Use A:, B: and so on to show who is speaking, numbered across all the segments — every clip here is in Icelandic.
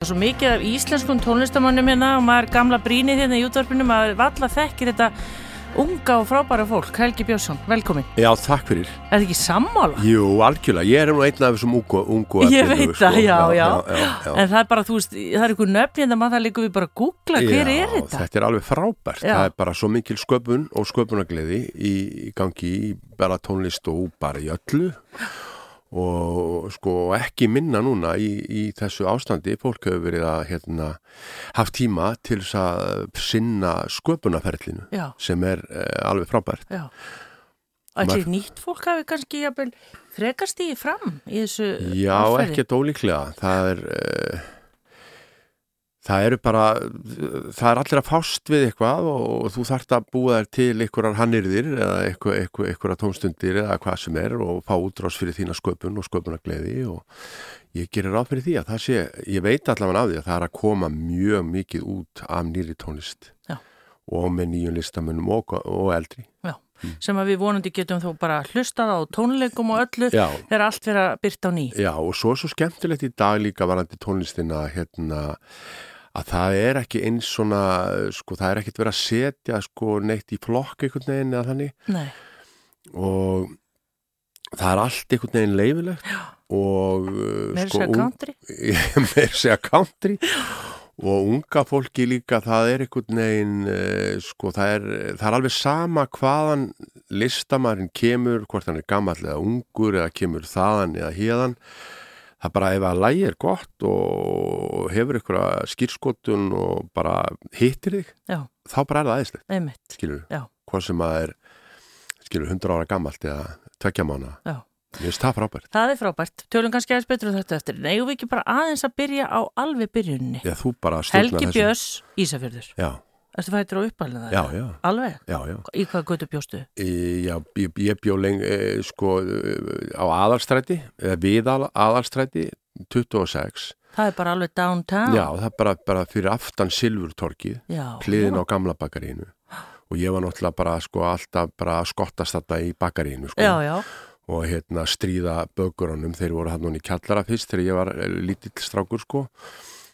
A: Það er svo mikið af íslenskum tónlistamannum hérna og maður er gamla brínið hérna í útvarpinu, maður valla þekkir þetta unga og frábæra fólk. Helgi Björnsson, velkomin.
B: Já, takk fyrir.
A: Er þetta ekki sammála?
B: Jú, algjörlega. Ég er nú einn af þessum ungu, ungu
A: Ég
B: efnilegu,
A: veit það, já, já.
B: já, já.
A: En það er bara, þú veist, það er einhver nöfn hérna maður, það liggur við bara að googla hver
B: Já,
A: er þetta.
B: Þetta er alveg frábært.
A: Já.
B: Það er bara svo mikil sköpun og sköpunagleði í, í gangi í bara tónlist og bara í öllu og sko ekki minna núna í, í þessu ástandi. Fólk hefur verið að hérna, haft tíma til þess að sinna sköpunaferlinu
A: Já,
B: sem er eh, alveg frábært.
A: já. Allir nýtt fólk hafi kannski jafnvel frekast í fram í þessu
B: Já,
A: árferði.
B: ekkert ólíklega. Það er... Uh, Það eru bara, það er allir að fást við eitthvað og, og þú þart að búa þær til einhverjar hannirðir eða einhver, einhver, einhverjar tónstundir eða hvað sem er og fá útrás fyrir þína sköpun og sköpunagleði og ég gerir ráð fyrir því að það sé, ég veit allavega af því að það er að koma mjög mikið út af nýri tónlist
A: Já.
B: og með nýjum listamönnum og, og eldri.
A: Já, sem að við vonandi getum þó bara hlustað á tónleikum og öllu
B: Já.
A: þegar allt verið að byrta á ný.
B: Já og svo er svo skemmtilegt í dag líka varandi tónlistina hérna, að það er ekki eins svona, sko það er ekkert verið að setja sko neitt í flokk einhvern veginn eða þannig
A: Nei,
B: og það er allt einhvern veginn leifilegt og uh,
A: meður
B: sko
A: segja country.
B: meir segja country og unga fólki líka það er einhvern veginn uh, sko það er, það er alveg sama hvaðan listamærin kemur hvort hann er gammal eða ungur eða kemur þaðan eða híðan það er bara ef að lægi er gott og hefur einhverja skýrskotun og bara hittir þig
A: Já.
B: þá bara er það aðeinslegt
A: Einmitt.
B: skilur
A: Já.
B: hvað sem að er skilur 100 ára gammalt eða tvekja mánu
A: Já.
B: mér finnst það frábært
A: Það er frábært. Tölum kannski aðeins betur um þetta eftir. Nei, við ekki bara aðeins að byrja á alveg byrjunni.
B: eða þú bara stjórnar
A: Helgi
B: þessu.
A: Björns, Ísafjörður.
B: já,
A: Erstu fættur á uppalina það?
B: já, já,
A: Alveg?
B: já, já.
A: Í hvað götu bjóstu?
B: Í- Já, ég, ég bjó leng, e, sko, eh, á aðalstræti, eða við al- aðalstræti, 26.
A: Það er bara alveg downtown?
B: Já, það er bara, bara fyrir aftan Silvurtorkið,
A: Já.
B: hliðin á gamla bakarínu. Og ég var náttúrulega bara, sko, alltaf bara að skottast þetta í bakarínu, sko.
A: Já, já.
B: Og hérna stríða bökurunum, þeir voru hann núna í kjallara fyrst þegar ég var eh, lítill strákur, sko.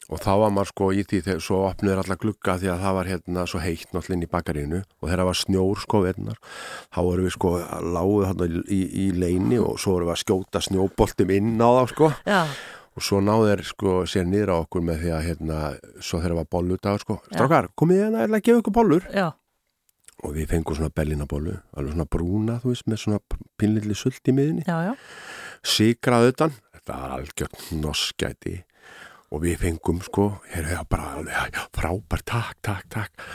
B: Og þá var maður sko í því þegar svo opnuður alla glugga því að það var hérna svo heitt náttúrulega inn í bakarínu og þegar það var snjór sko verðnar þá vorum við sko láguð hérna í, í, í leini og svo vorum við að skjóta snjóboltum inn á þá sko
A: Já,
B: og svo náðu þeir sko sér niður á okkur með því að hérna svo þegar var bollutagur sko Strákar, komið hérna, ég ætla að gefa ykkur bollur
A: já,
B: og við fengum svona bellinabollu, alveg svona brúna þú veist með svona pinlilli sult í miðinni
A: já, já.
B: sigrað utan, þetta var algjörn norskæti og við fengum sko, hér er bara alveg já, frábært, takk, takk, takk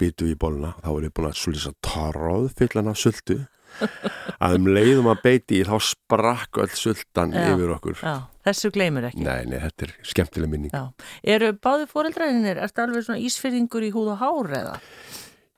B: byttu í bóluna, þá er ég búin að svolítið að tarrað fyllan af sultu að um leiðum að beiti í þá sprakk öll sultan
A: Já.
B: yfir okkur
A: já. Þessu gleymur ekki.
B: Nei, nei, þetta er skemmtileg minning
A: Já. Eru báði fóreldraðinir, ertu alveg svona ísfyrðingur í húð og hár eða?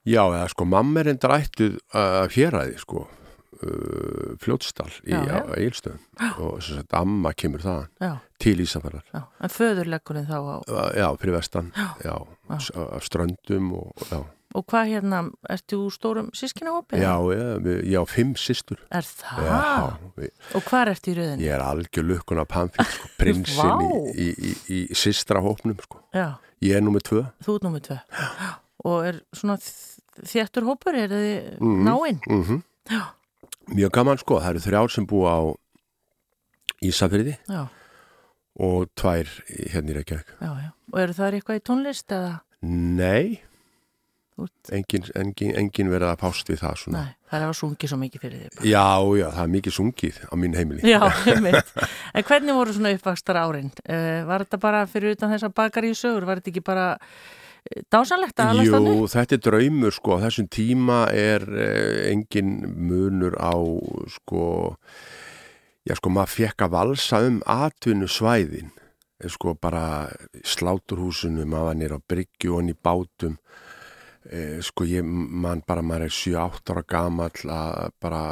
B: Já, eða sko, mamma er endur ættuð að fjeraði, sko uh, fljótstall í
A: Já, já.
B: Ílstöðum og sem sagt, amma kemur þaðan
A: Já,
B: til Ísafærar
A: já. En föðurleggunin þá á.
B: já, fyrir vestan já, s- af ströndum og, já,
A: Og hvað hérna, ertu úr stórum sískinahópið?
B: já, já, við- ég á fimm systur
A: Er það?
B: já, við-
A: Og hvað ertu í röðinni?
B: ég er algjör lukkuna pamfíl sko, prinsinn
A: Vá.
B: í, í, í, í systra hópnum sko.
A: Já.
B: ég er nummið tvö
A: Þú ert nummið tvö. Og er svona þ- þéttur hópur, er þið náinn?
B: mm mjög gaman sko, það eru þrjár sem búa á Ísafyrði
A: Já,
B: og tvær í- hérna í Reykjavík
A: já, já. Og eru það eitthvað í tónlist eða?
B: nei
A: Þú ert-
B: engin, engin, engin verið að fást við það svona.
A: Nei, það er að sungið svo mikið fyrir þig. bara.
B: já, já, það er mikið sungið á mín heimili
A: Já, einmitt. En hvernig voru svona uppvakstar árin? Uh, var þetta bara fyrir utan þess að bakar í sögur? Var þetta ekki bara eh, dásanlegt að alast þannig?
B: Jú, þetta er draumur sko, á þessum tíma er eh, engin munur á sko, já sko maður fekk að valsa um atvinnu svæðin, sko bara sláturhúsinu, maður var nýr á bryggju og hann í bátum, eh, sko ég man bara maður er 7-8 ára gamall að bara...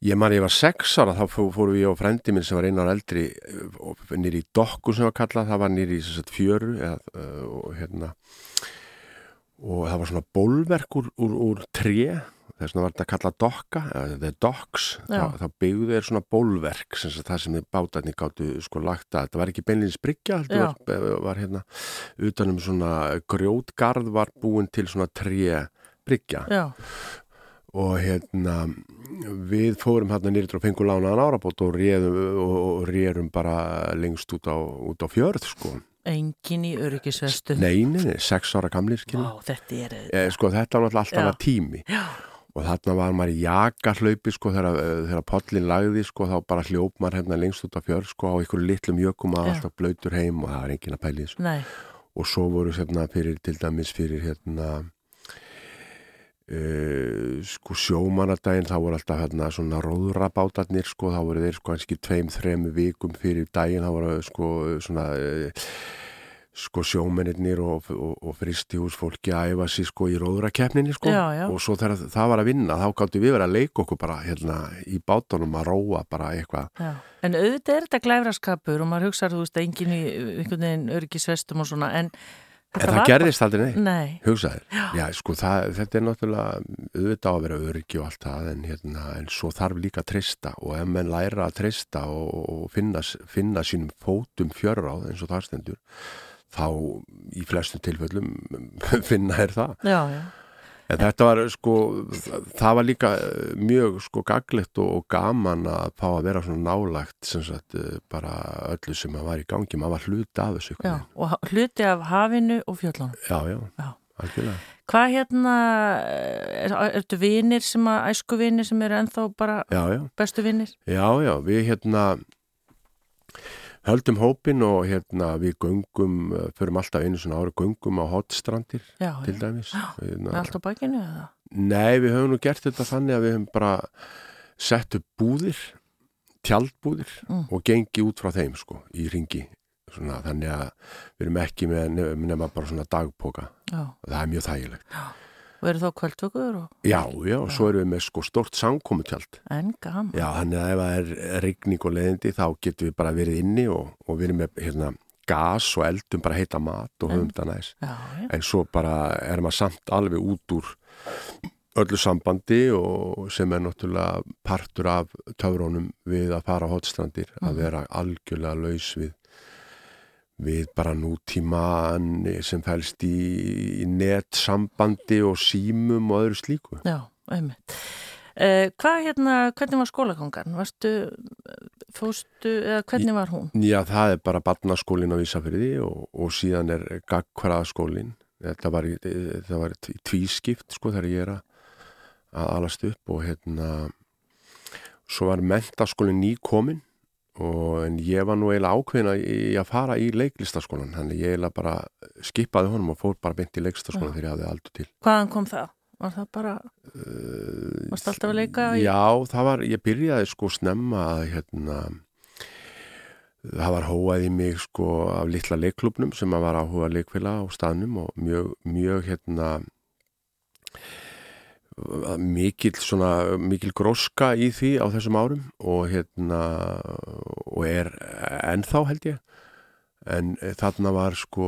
B: Ég man ég var sex ára, þá fó- fórum við og frendi minn sem var einu ára eldri nýri í dokku sem var kallað, það var nýri í sem sagt, fjöru eða, eh, og hérna og það var svona bólverk úr, úr, úr tré þess að var þetta að kalla dokka eða the docks, þá,
A: Já.
B: þá byggðu þeir svona bólverk sem sagt, það sem þið bátarnir gáttu sko lagt að, þetta var ekki beinlýns bryggja heldur
A: Já.
B: var, var hérna utan um svona grjótgarð var búin til svona tré bryggja
A: já,
B: og hérna við fórum hérna nýrður og fengum lánaðan árabót og réðum, og, og réðum bara lengst út á, út á fjörð sko.
A: engin í öryggisvestu.
B: Neininni, sex ára gamlir skilur.
A: Vá, þetta er...
B: Eh, sko þetta var náttúrulega allt
A: Já.
B: annað tími
A: Já.
B: og þarna var maður í jakahlaupi sko þegar, eh, þegar pollin lagði sko þá bara hljóp maður hérna lengst út af fjör sko á einhverju litlum jökum að
A: Já.
B: alltaf blöytur heim og það var enginn að pæli þessu
A: Nei,
B: og svo voru hérna fyrir til dæmis fyrir hérna Uh, sko sjómanadaginn þá voru alltaf hérna svona róðurabátarnir sko þá voru þeir sko einski tveim, þreim vikum fyrir daginn þá voru sko svona uh, sko sjómennirnir og, og, og fristihúsfólki að æfa sér sko í róðurakeppninni sko
A: Já, já.
B: og svo þegar það var að vinna þá gáttu við verið að leika okkur bara hérna í bátunum að róa bara eitthvað
A: já. En auðvitað er þetta glæfraskapur og maður hugsar, þú veist, engin í einhvern veginn öryggisvestum og svona, en...
B: en það gerðist aldrei neitt
A: Nei,
B: Hugsaðir, já sko það, þetta er náttúrulega auðvitað á að vera öryggi og allt það en, hérna, en svo þarf líka að treysta og ef menn læra að treysta og, og finna, finna sínum fótum fjörráð eins og það stendur þá í flestum tilfellum finna er það.
A: já, já.
B: En þetta var sko, það var líka eh, mjög sko gaglegt og, og gaman að fá að vera svona nálagt sem sagt eh, bara öllu sem að var í gangi, maður var hluti af þessu. einhvern
A: Já, og ha- hluti af hafinu og fjöllunum.
B: veginn. Já, já,
A: Já.
B: algjörlega.
A: Hvað hérna, eh, er, ertu vinir sem að, æsku vinir sem eru ennþá bara
B: Já, já.
A: bestu vinir?
B: Já, já, við hérna höldum hópin og hérna við göngum, eh, förum alltaf einu svona ári göngum á hotstrandir
A: Já,
B: til
A: já.
B: dæmis.
A: Með
B: Hérna,
A: allt á bakinu eða?
B: nei, við höfum nú gert þetta þannig að við höfum bara sett upp búðir, tjaldbúðir
A: Mm.
B: og gengi út frá þeim sko í ringi. Svona, þannig að við erum ekki með nef- nema bara svona dagpoka
A: Já.
B: og það er mjög þægilegt.
A: Og eru þá kvöldvökuður og
B: Já, já, og svo erum við með sko stort samkomutjald
A: enn gaman?
B: Já, þannig að ef það er rigning og leðindi þá getum við bara verið inni og, og við erum með hérna, gas og eldum bara heita mat og höfum þetta næs.
A: Já, já.
B: En svo bara er maður samt alveg út úr öllu sambandi og sem er náttúrulega partur af töfrónum við að fara á hotstrandir að vera algjörlega laus við við bara nútíman sem fælst í, í netsambandi og símum og öðru slíku.
A: Já, einmitt. Uh, hvað hérna, hvernig var skólagangan? Varstu, eh, fórstu, eða hvernig var hún?
B: Já, það er bara barnaskólin á Ísafriði og, og síðan er gagkvaraðaskólin. Þetta var, í- það var í tvískipt, sko, þegar ég er að- að alast upp og hérna, svo var mentaskólin nýkomin og en ég var nú eiginlega ákveðin að, í að fara í leiklistaskólan, þannig ég eiginlega bara skipaði honum og fór bara beint í leiklistaskólan þegar ég hafði aldur til.
A: Hvaðan kom það? Var það bara, varstu alltaf að leika? í-
B: Eh, Já, það var, ég byrjaði sko snemma að hérna það var hóað í mig sko af litla leikklubnum sem að var áhuga leikfélag á staðnum og mjög, mjög hérna mikil svona, mikil gróska í því á þessum árum og hérna og er ennþá held ég en þarna var sko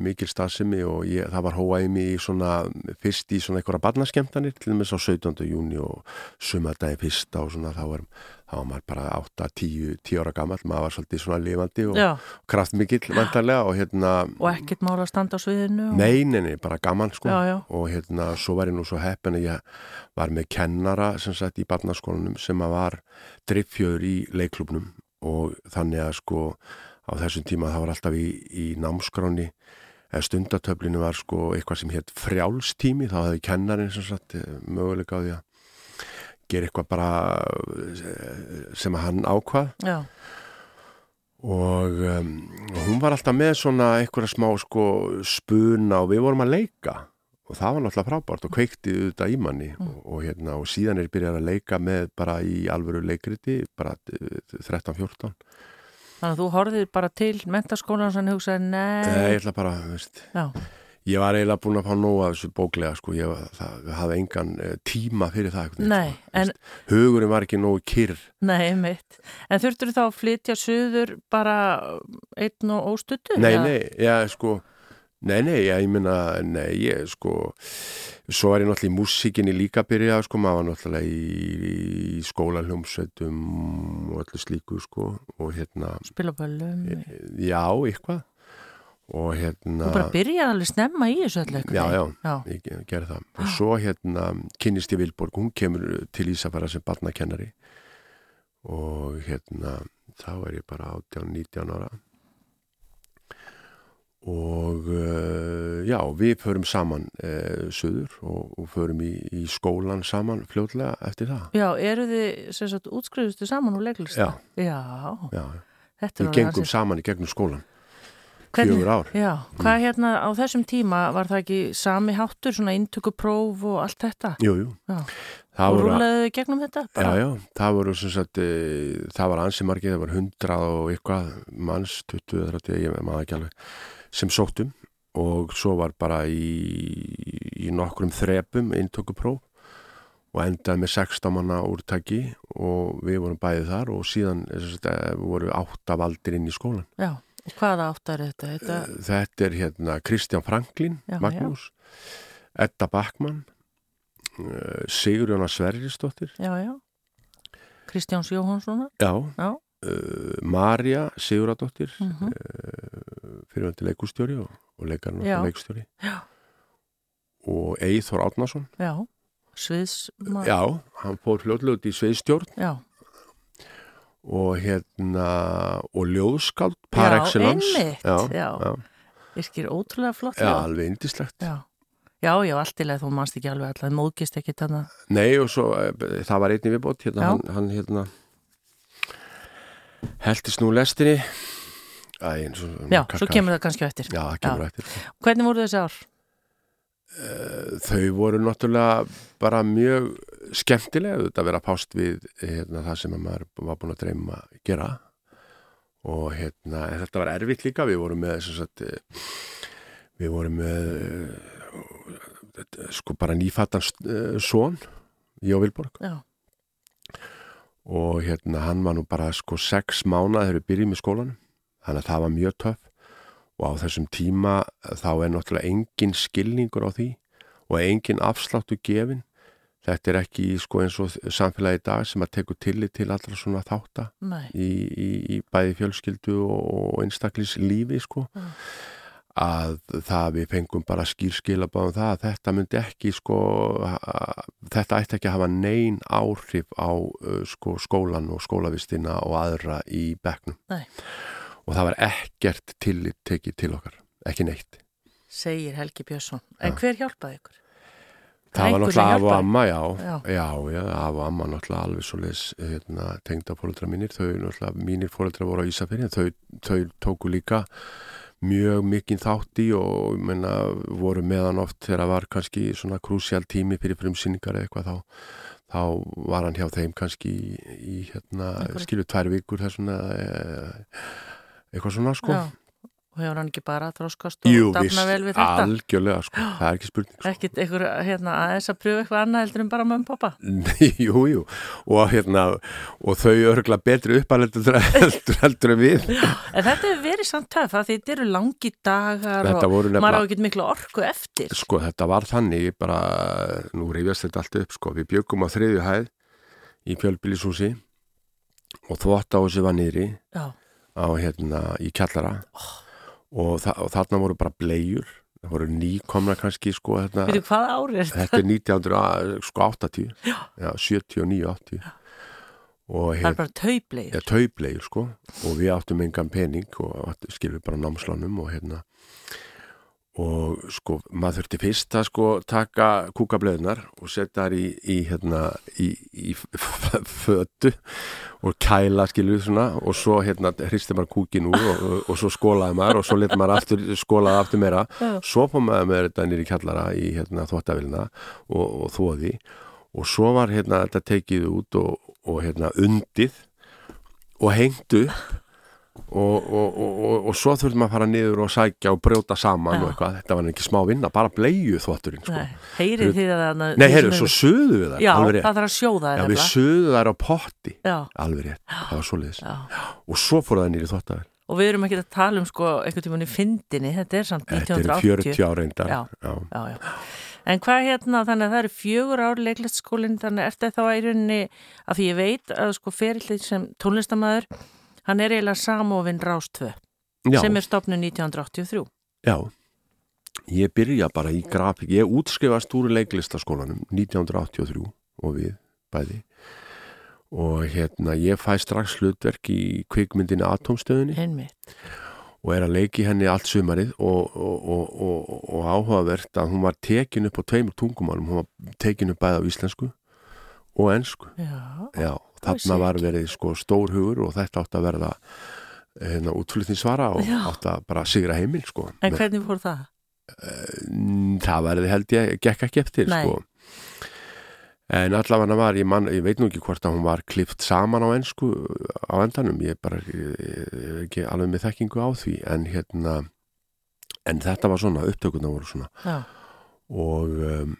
B: mikil stasimi og ég, það var hóað í mig í svona, fyrst í svona einhverja barnaskemtanir til dæmis á 17. júni og sumardaginn fyrsta og svona þá var, þá var maður bara 8, 10, 10 ára gammal maður var svolítið svona lifandi og
A: Já,
B: kraftmikill vantarlega og hérna
A: og ekkert mála að standa á sviðinu? Og...
B: Nei, nei, nei, bara gaman sko
A: Já, já.
B: og hérna, svo var ég nú svo heppin að ég var með kennara sem sagt í barnaskólanum sem að var driffjöður í leikklubnum og þannig að sko á þessum tíma það var alltaf í, í námskráni eða stundatöflinu var sko eitthvað sem hétt frjálstími þá hafði kennarin sem sagt eh, möguleika á því að gera eitthvað bara eh, sem að hann ákvað
A: Já,
B: og um, hún var alltaf með svona einhverja smá sko spuna og við vorum að leika og það var náttúrulega frábært og kveikti auðvitað í manni og, og, hérna, og síðan er byrjar að leika með bara í alvöru leikriti bara eh, 13-14
A: þannig að þú horfið bara til mentaskólan og þannig hugsaði,
B: Nei,
A: nei,
B: Eh, ég ætla bara, veist
A: já,
B: ég var eiginlega búin að fá nóg af þessu bóklega sko, ég var- það, hafði engan eh, tíma fyrir það einhvern veginn,
A: Nei, en-
B: sko, en... hugurinn var ekki nógu kyrr
A: Nei, mitt. En þurftur þá að flytja söður bara einn og óstuttu?
B: Nei, nei, já, sko Nei, nei, já, ég minna, nei, ég, sko, svo var ég náttúrulega í músíkinni líka að byrja, sko, maður var náttúrulega í, í skólaljómsveitum og öllu slíku, sko, og hérna,
A: spila á böllum þú
B: já, eitthvað, og hérna,
A: bara byrjaði alveg snemma í þessu allir
B: já, já,
A: já.
B: ég ge- gerði það.
A: Ah.
B: Og svo, hérna, kynnist ég Vilborg, hún kemur til Ísafara sem barnakennari og, hérna, þá er ég bara 18-19 ára. og uh, já, við förum saman uh, söður og, og förum í, í skólan saman fljótlega eftir það.
A: Já, eru þið sem sagt útskriðustu saman úr leiklist?
B: Já.
A: Já,
B: Já,
A: þetta er
B: við gengum saman í gegnum skólan,
A: Hvernig-
B: fjögur ár.
A: Já,
B: Mm.
A: hvað hérna á þessum tíma var það ekki sami háttur, svona inntökupróf og allt þetta?
B: Jú, jú.
A: Já,
B: Það
A: og
B: voru-
A: rúlaðu þið gegnum þetta?
B: Já,
A: Bara-
B: já, það voru sem sagt, eh, það var ansi margir, það var hundrað og eitthvað manns, 20, eða 30, ég maður ekki alveg, sem sóttum og svo var bara í, í nokkrum þrepum inntökupróf og endaði með 16 manna úrtaki og við vorum bæðið þar og síðan eh, sem sagt, eh, voru átta valdir inn í skólan.
A: Já, og hvaða áttar er þetta? þetta...
B: Þetta er hérna Kristján Franklin,
A: Já,
B: Magnús, Edda Backmann, Sigurjóna Sverrisdóttir,
A: Já, já. Kristjáns Jóhanssona?
B: já,
A: Já.
B: uh, Marja Siguradóttir
A: Mm
B: fyrirvændi leikustjóri og, og leikarinn
A: Já.
B: okkar leikustjóri
A: Já.
B: og Eithor Átnason
A: Já, sviðsmann?
B: já, hann fór fljóðlega út í sveiðstjórn
A: Já,
B: og hérna og ljóðskáld
A: Já,
B: par excellence
A: einmitt, já.
B: já,
A: virkir ótrúlega flott.
B: já,
A: já.
B: alveg indislegt
A: Já, já, já allt í leið, þú manst ekki alveg allaveg, móðgist ekki þannig.
B: nei og svo, eh, það var einnig viðbót hérna,
A: Já.
B: hann, hann hérna heldist nú lestinni Æ, eins og
A: Já,
B: kakar.
A: svo kemur það kannski á eftir.
B: já, það kemur eftir
A: Hvernig voru þessi ár?
B: þau voru náttúrulega bara mjög skemmtilega auðvitað að vera að pást við hérna, það sem að maður var búin að dreyma að gera og hérna, en þetta var erfitt líka við vorum með sem sagt, eh, við vorum með eh, þetta, sko bara nýfattan son í Óvilborg
A: Já,
B: og hérna hann var nú bara sko sex mánað þegar við byrjum í skólanum þannig að það var mjög töff og á þessum tíma þá er náttúrulega engin skilningur á því og engin afsláttu gefin þetta er ekki sko eins og samfélagi í dag sem að tekur tillit til allra svona þátta
A: nei.
B: í, í, í bæði fjölskyldu og, og einstaklis lífi sko
A: Mm.
B: að það við fengum bara skýrskilabáðum það að þetta myndi ekki sko ha- þetta ætti ekki að hafa nein áhrif á uh, sko skólan og skólavistina og aðra í bekknum
A: Nei.
B: og það var ekkert tillit tekið til okkar, ekki neitt
A: segir Helgi Björnsson. En
B: Já.
A: hver hjálpaði ykkur?
B: Það var
A: Einhver sem
B: náttúrulega af og
A: hjálpaði.
B: amma, já.
A: Já.
B: Já, já, af og amma náttúrulega alveg svo leis hérna, tengda fóreldra mínir. Þau náttúrulega, mínir fóreldra voru á Ísafirði, en þau, þau tóku líka mjög mikinn þátt í og menna, voru meðan oft þegar var kannski svona krúsjál tími fyrir frumsýningar eða eitthvað þá, þá var hann hjá þeim kannski í, í hérna,
A: Einhverju.
B: skilju tvær vikur þessum eða eh, eitthvað svona sko.
A: Já, og hefur hann ekki bara þróskast og
B: Jú,
A: dafna vel við þetta?
B: algjörlega sko, það er ekki spurning sko.
A: Ekkert ykkur hérna, aðeins að pröfa eitthvað annað heldur en bara mömmu pappa?
B: Nei, jú, jú, og hérna og þau örgla betri uppalendur heldur, heldur en við
A: En þetta hefur verið samt töf að þetta eru langi dagar
B: Þetta
A: og
B: voru
A: maður á
B: nefnilega,
A: ekkert miklu orku eftir.
B: sko, þetta var þannig ég bara, nú reyfjast þetta allt upp sko, við bjögum á þriðju hæð í fjölbýlishúsi og þvótt á þessi var niðri
A: Já,
B: á hérna í kjallara og, þa og þarna voru bara blegjur það voru nýkomna kannski sko, hérna,
A: veitu hvað árið er þetta?
B: þetta er 1980 já. sko, Já, 79, 80 já. og
A: Það er bara taubleir.
B: Já, taubleir sko og við áttum engan pening og átt- skilur bara námslánum og hérna og sko maður þurfti fyrst að sko taka kúkableðunar og setja þær í, í hérna í, í f- f- fötu og kæla skilur svona og svo hérna hristi maður kúkin úr og, og, og svo skólaði maður og svo let maður aftur, skólaði aftur meira
A: Já.
B: svo fór maður með þetta nýri kallara í hérna þvóttavilina og, og þóði og svo var hérna þetta tekið út og, og hérna undið og hengt upp og, og, og, og, og svo þurftum að fara niður og sækja og brjóta saman
A: Já.
B: og eitthvað, þetta var ekki smá vinna, bara bleiðu þvotturinn sko.
A: Nei, heyrið þið að það...
B: Nei, heyrðu, svo suðu við það
A: Já,
B: alveg rétt,
A: það þarf að sjóða
B: já,
A: það
B: við suðu þær á potti
A: Já,
B: alveg rétt, það var svoleiðis
A: já,
B: og svo fór það nýri þvottavel
A: og við erum ekki að tala um sko eitthvað tíma í fyndinni, þetta er samt
B: Þetta
A: 1980
B: eru 40 ár reyndar.
A: Já.
B: Já.
A: já, já. En hvað hérna, þannig að það eru fjögur ár leiklætsskólinn, þannig er þetta þá í rauninni að því ég veit að sko ferillið sem tónlistamæður, hann er eiginlega samofinn Rástvö,
B: Já.
A: sem er stopnu 1983.
B: Já, ég byrja bara í grafík, ég útskrifast úr leiklistaskólanum 1983 og við bæði og hérna ég fæ strax hlutverk í kvikmyndinu Atomstöðinni
A: Einmitt.
B: og er að leiki henni allt sumarið og, og, og, og, og áhugavert að hún var tekin upp á tveimur tungumálum, hún var tekin upp bæði á íslensku og ensku.
A: Já,
B: Já,
A: Það vissi
B: þarna
A: ég
B: var
A: ekki.
B: verið sko stór hugur og þetta átt að verða hérna útflutningsvara og
A: Já.
B: átt að bara sigra heiminn sko.
A: en hvernig fór það?
B: Mm, það verði held ég, gekk ekki eftir
A: Nei.
B: sko. en allavega var ég, man, ég veit nú ekki hvort að hún var klift saman á ennsku á endanum, ég er bara ég, ég er ekki alveg með þekkingu á því en hérna en þetta var svona, upptökurna voru svona
A: Já,
B: og um,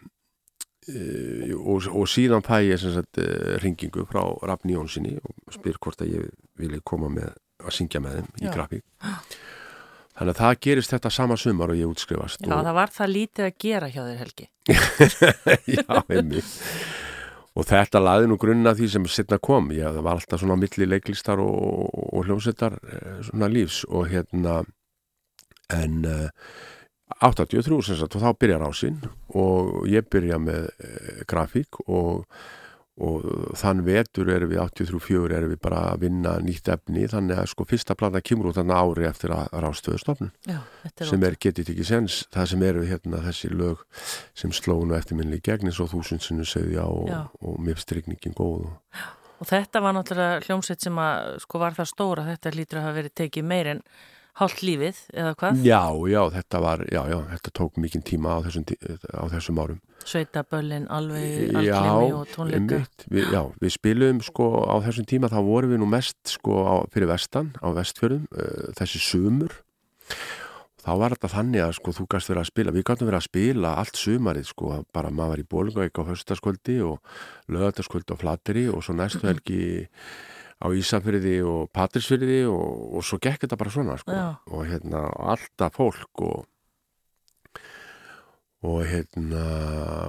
B: e, og, og síðan fæ ég sem sagt eh, hringingu frá Rafn Jónssoni og spyr hvort að ég vilja koma með að syngja með þeim
A: Já.
B: í grafík þannig að það gerist þetta sama sumar og ég útskrifast
A: já
B: og,
A: það var það lítið að gera hjá þér Helgi.
B: Já, einmitt. Og þetta laði nú grunna því sem setna kom. Ég, það var alltaf svona á milli leiklistar og, og, og hljómsettar svona lífs og hérna en uh, 83 sem sagt og þá byrjar ásinn og ég byrja með uh, grafík og, og þann vetur erum við 83-4 erum við bara að vinna nýtt efni þannig að sko fyrsta plata kemur út þannig ári eftir að rástöðustofnun
A: Já, þetta er
B: sem er getið ekki sens það sem eru hérna þessi lög sem slónu eftirminni gegn eins og þúsundsinu segja og,
A: Já.
B: og mér strygningin góð og,
A: Og þetta var náttúrulega hljómsveit sem að sko var það stóra, þetta lítur að hafa verið tekið meir en hálft lífið eða hvað,
B: já, já, þetta var já, já, þetta tók mikinn tíma á þessum, tí- á þessum árum
A: sveitaböllin, alveg,
B: Já,
A: alglimi og tónleika.
B: einmitt. við, já, við spilum sko á þessum tíma þá vorum við nú mest sko á, fyrir vestan á vestfjörðum uh, þessi sumur þá var þetta þannig að sko þú gæst verið að spila við gætum verið að spila allt sumarið sko bara maður var í bólungauk á höstaskvöldi og lögataskvöldi á flateri og svo næstu helgi á Ísafyrði og Patrísfyrði og, og svo gekk þetta bara svona sko
A: Já.
B: og hérna alltaf fólk og og hérna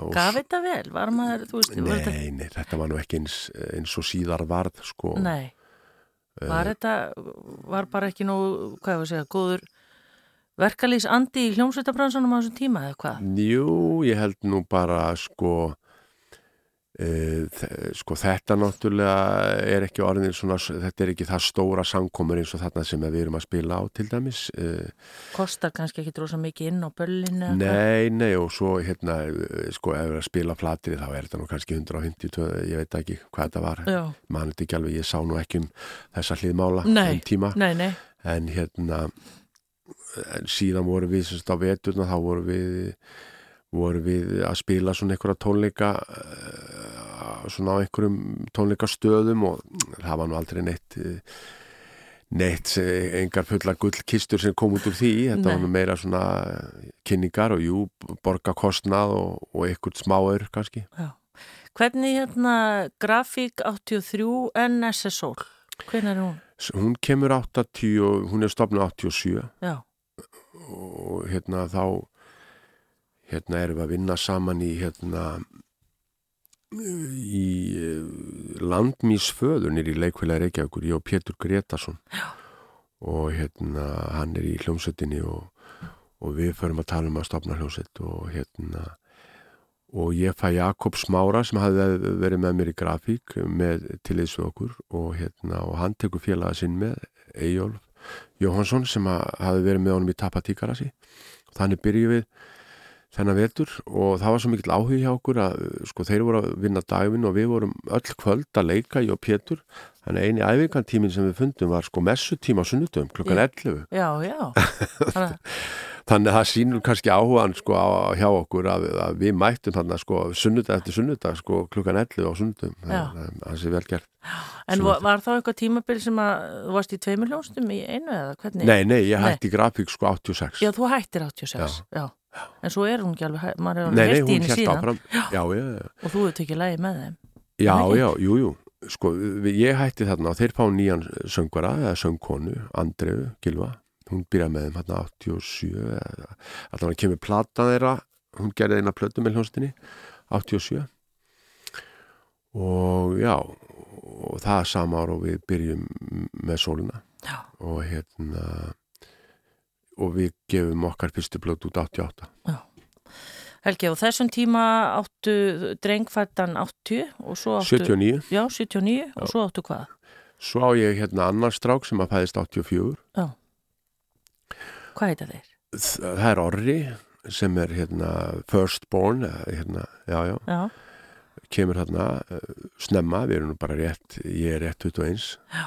B: og
A: Gaf þetta vel, var maður, þú veist, voru þetta...
B: Nei, nei, þetta var nú ekki eins, eins og síðar varð, sko. Eh.
A: Nei, var þetta, var bara ekki nú, hvað ég var að segja, góður verkalýs andi í hljómsveitabransanum á þessum tíma eða hvað?
B: Jú, ég held nú bara, sko, e, sko, þetta náttúrulega er ekki orðin svona, þetta er ekki það stóra samkomur eins og þarna sem við erum að spila á, til dæmis. E,
A: Kostar kannski ekki drósa mikið inn á böllinu eða hvað?
B: nei, nei, og svo, hérna, eh, sko, ef við erum að spila flatri, þá er þetta nú kannski 152, ég veit ekki hvað þetta var.
A: Já,
B: Man þetta ekki alveg, ég sá nú ekki um þessa hliðmála
A: Nei,
B: um tíma.
A: nei, nei,
B: en hérna en síðan vorum við semst á veturna þá vorum við vorum við að spila svona einhverja tónleika eh, svona á einhverjum tónleikastöðum og það var nú aldrei neitt eh, neitt, eh, engar fulla gullkistur sem kom út úr því, þetta var
A: Nei.
B: nú meira svona kynningar og jú borga kostnað og, og einhvern smáur kannski.
A: já. Hvernig hérna grafík 83 NS er sól? Hvernig er hún?
B: S- Hún kemur 80, og- hún er stofnað 87
A: Já,
B: og hérna þá hérna erum við að vinna saman í hérna í landmísföðunir í leikfélagi Reykjavíkur, ég og Pétur Gretarsson Já. og hérna hann er í hljómsveitinni og, og við förum að tala um að stopna hljómsveit og hérna og ég fæ Jakob Smára sem hafði verið með mér í grafík með tilliðs við okkur og hérna og hann tekur félaga sinn með Eyjólf Jóhansson sem að, hafi verið með honum í Tapatíkarasi þannig byrjum við þennan vetur og það var svo mikill áhug hjá okkur að sko þeir voru að vinna dagvinn og við vorum öll kvöld að leika ég og Pétur þannig að eini æfingantímin sem við fundum var sko messutíma á sunnudum klukkan 11
A: já, já. Þannig, að-
B: þannig að það sýnur kannski áhugan sko á, hjá okkur að, að við mættum þannig sko sunnudag eftir sunnudag sko klukkan 11 á sunnudum
A: Já.
B: það það er sér vel gert
A: en var,
B: Svo þetta-
A: var þá eitthvað tímabil sem að þú varst í tveimur hljómsveitum í einu eða hvernig?
B: nei, nei, ég
A: Nei.
B: hætti grafík sko 86
A: Já, þú hættir 86, já. En svo er hún ekki alveg, hæ- maður er
B: nei,
A: alveg
B: nei,
A: heilt í
B: hún
A: henni
B: hérst
A: síðan
B: áfram já, já, já
A: og þú hefði tekið lægi með þeim.
B: Já,
A: ekki?
B: já, jú, jú, sko, við- ég hætti þarna og þeir fá nýjan söngvara eða söngkonu, Andreu Gilva hún byrjaði með þeim hérna 87 eða- allan að kemur plata þeirra hún gerði eina plötu með hljónstinni 87 og já og það er sama ára og við byrjum með sólina
A: Já.
B: og hérna og við gefum okkar fyrstu plötu út 88
A: Helgi, á þessum tíma áttu drengfættan 80 og svo áttu...
B: 79
A: Já, 79 og
B: Já.
A: svo áttu hvað?
B: Svo á ég hérna annar strák sem að fæðist 84.
A: Hvað heita þeir?
B: Þ- Það er Orri sem er hérna firstborn, eða, hérna, já, já,
A: Já,
B: kemur hérna uh, snemma, við erum nú bara rétt, ég er rétt 21,
A: já,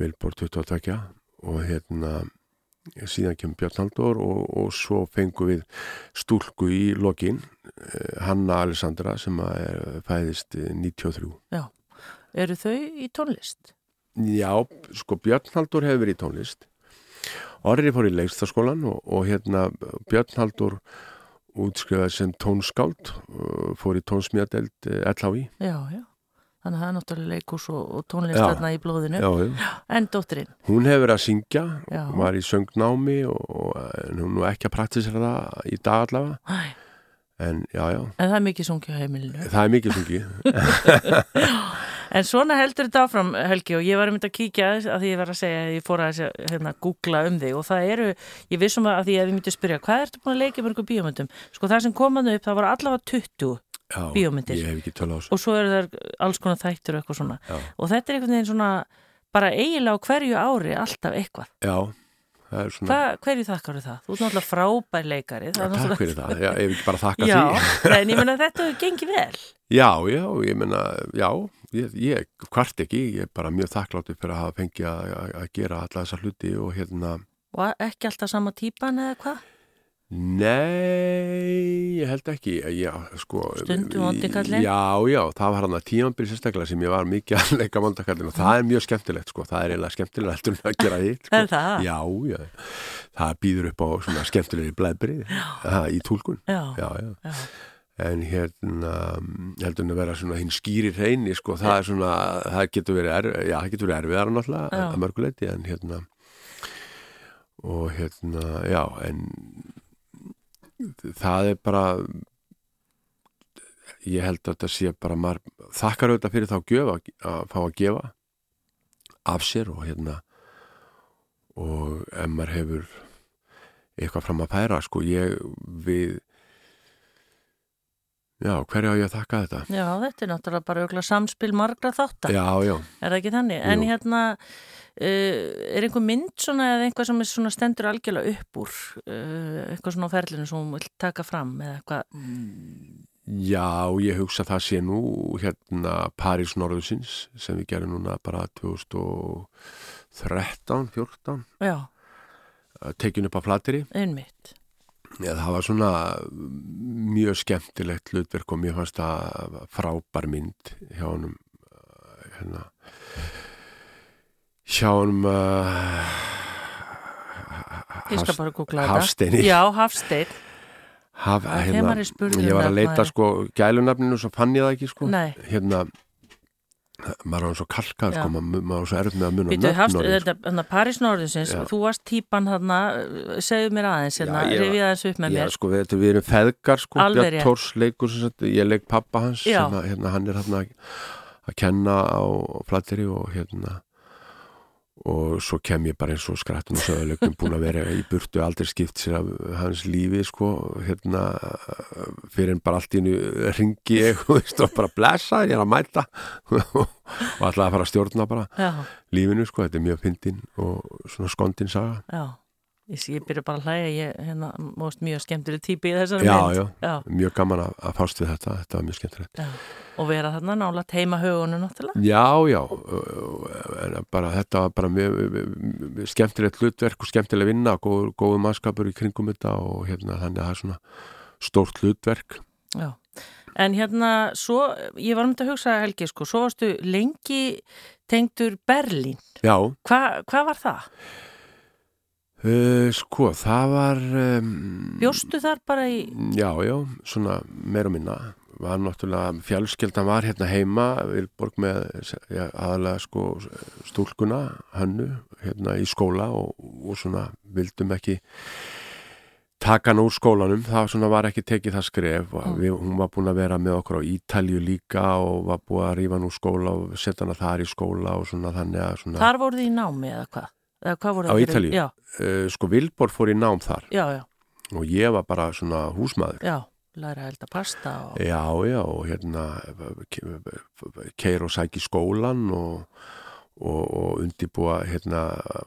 B: Vilbor 22 og hérna síðan kemur Björn Halldór og, og svo fengum við stúlku í lokin, eh, Hanna Alessandra sem að er, fæðist eh, 93.
A: já. Eru þau í tónlist?
B: Já, sko Björn Haldur hefur verið í tónlist Orri fór í leikstaskólan og, og hérna Björn Haldur útskrifaði sem tónskáld uh, fór í eh, tónsmíðadeld LHI
A: Já, já. Þannig að það er náttúrulega leikús og, og tónlist
B: Já.
A: þarna í blóðinu.
B: Já, já.
A: En dóttirinn,
B: Hún hefur verið að syngja
A: Já.
B: var í söngnámi og, og en hún er nú ekki að praktisera það í dag allavega
A: Æ,
B: en já, já,
A: en það er mikið sungið á heimilinu.
B: það er mikið sungi
A: En svona heldur þetta áfram, Helgi, og ég var um þetta að kíkja að því ég var að segja, ég fór að hérna, googla um þig og það eru, ég vissum að því að ég myndi að spyrja, hvað ertu búin að leika í mörgum bíómyndum? Sko það sem komaðu upp, það var allavega 20
B: já,
A: Bíómyndir.
B: Ég hef ekki tölu á þessu
A: og svo eru það alls konar þættur og eitthvað svona.
B: Já.
A: Og þetta er einhvern veginn svona, bara eiginlega á hverju ári alltaf eitthvað.
B: Já, það er svona
A: Hva, hverju þakkar það? Þú ert náttúrulega frábær leikari. það er
B: Takk fyrir það, Mm. já, ég hef ekki bara þakka því
A: náttúrulega- Já, en ég meina að þetta gengi vel.
B: Já, já, ég menna, já, ég, ég kvart ekki, ég er bara mjög þakkláttur fyrir að hafa fengið að, að- að gera alla þessa hluti og hérna,
A: Og ekki alltaf sama típan eða hvað?
B: nei, ég held ekki, já, sko.
A: Stundum vondi kallinn?
B: Já, já, það var hann að tímanbyrði sérstaklega sem ég var mikið að leika vondakallin og það er mjög skemmtilegt, sko, það er eiginlega skemmtilegt heldur en að gera hitt, sko.
A: Er það?
B: Já, já, það býður upp á svona skemmtilegri blæbrið í tólkun,
A: Já,
B: já, já.
A: já.
B: en hérna mm, heldur hann að vera svona hinn skýrir reyni sko, það er svona, það getur verið erf, já, það getur verið erfiðar náttúrulega
A: Já.
B: að mörguleiti en hérna og hérna, já, en það er bara ég held að þetta sé bara maður þakkar auðvitað fyrir þá gjöf að, að fá að gefa af sér og hérna og ef maður hefur eitthvað fram að færa sko, ég við já, hverju á ég að þakka þetta?
A: Já, þetta er náttúrulega bara ögla samspil margra þáttar,
B: Já, já,
A: er það ekki þannig? En
B: Jú.
A: hérna, uh, er einhver mynd svona eða einhvað sem er svona stendur algjörlega upp úr, uh, eitthvað svona á ferlinu sem hún vil taka fram eða
B: Mm.
A: eitthvað?
B: Já, ég hugsa að það sé nú hérna París Norðusins sem við gerum núna bara 2013, 14
A: Já,
B: tekin upp á flateri.
A: einmitt.
B: Ja, það var svona mjög skemmtilegt hlutverk og mér fannst það frábær mynd hjá honum eh, hérna, hjá honum uh,
A: Ég skal bara googla þetta.
B: Hafsteini.
A: Já, Hafstein.
B: haf,
A: Að
B: hérna,
A: þemari spurðu
B: ég var
A: nafn,
B: að leita
A: maður.
B: sko gælunafninu svo fann ég það ekki sko
A: um Nei.
B: hérna maður var svo kalkað sko,
A: Já.
B: maður, maður var svo erf með að munna
A: Býtu, hafst,
B: um nöfn orðið,
A: þetta, hérna, París Norðinsins,
B: Já.
A: þú varst típan hérna, segðu mér aðeins, hérna,
B: Já, ég var-
A: rifið aðeins upp með
B: Já,
A: mér.
B: sko, við, þetta- við erum feðgar sko,
A: Alveg
B: Björn
A: rétt.
B: Tórs leikur sem sagt, ég leik pappa hans
A: Já.
B: sem að, hérna, hann er hérna að kenna á flatteri og hérna og svo kem ég bara eins og skrættum og söðuleikum búin að vera í burtu aldrei skipt sér af hans lífi sko, hérna fyrir en bara allt í hennu ringi ég þú veist, og bara blessa, ég er að mæta og alltaf að fara að stjórna bara
A: Já,
B: lífinu sko, þetta er mjög fyndin og svona skondin saga
A: já. Ég, sé- ég byrja bara að hlæja, ég, hérna, móst mjög skemmtileg típi í þessari
B: Já,
A: mynd.
B: já.
A: já.
B: mjög gaman að, að fást við þetta, þetta var mjög skemmtilegt
A: Já, og vera þarna nálat heima hugunum náttúrulega.
B: Já, já ö- en bara, þetta var bara mjög, mjög skemmtilegt hlutverk og skemmtileg vinna góð, góðu mannskapur í kringum þetta og hérna þannig að það er svona stórt hlutverk
A: Já. En hérna, svo, ég var um þetta að hugsa Helgi, sko, svo varstu lengi tengdur Berlín.
B: Já,
A: Hva, hvað var það?
B: uh, sko, það var um,
A: Bjóstu þar bara í,
B: Já, já, svona meira og minna var náttúrulega, fjálskeldan var hérna heima, Vilborg með ja, aðalega sko stúlkuna, hannu, hérna í skóla og, og svona vildum ekki taka hann úr skólanum, það svona var ekki tekið það skref,
A: Mm.
B: við, hún var búin að vera með okkur á Ítalju líka og var búin að rífa hann úr skóla og setja hann að þar í skóla og svona þannig að svona,
A: Þar voru þið í námi eða hvað? Eða hvað voru þið
B: Á
A: að gera?
B: Ítalíu?
A: Já,
B: uh, sko Vilborg fór í nám þar
A: já, já,
B: og ég var bara svona húsmaður
A: já. Læra að elda pasta og...
B: Já, já, og hérna keir og sæki skólan og, og, og undibúa hérna,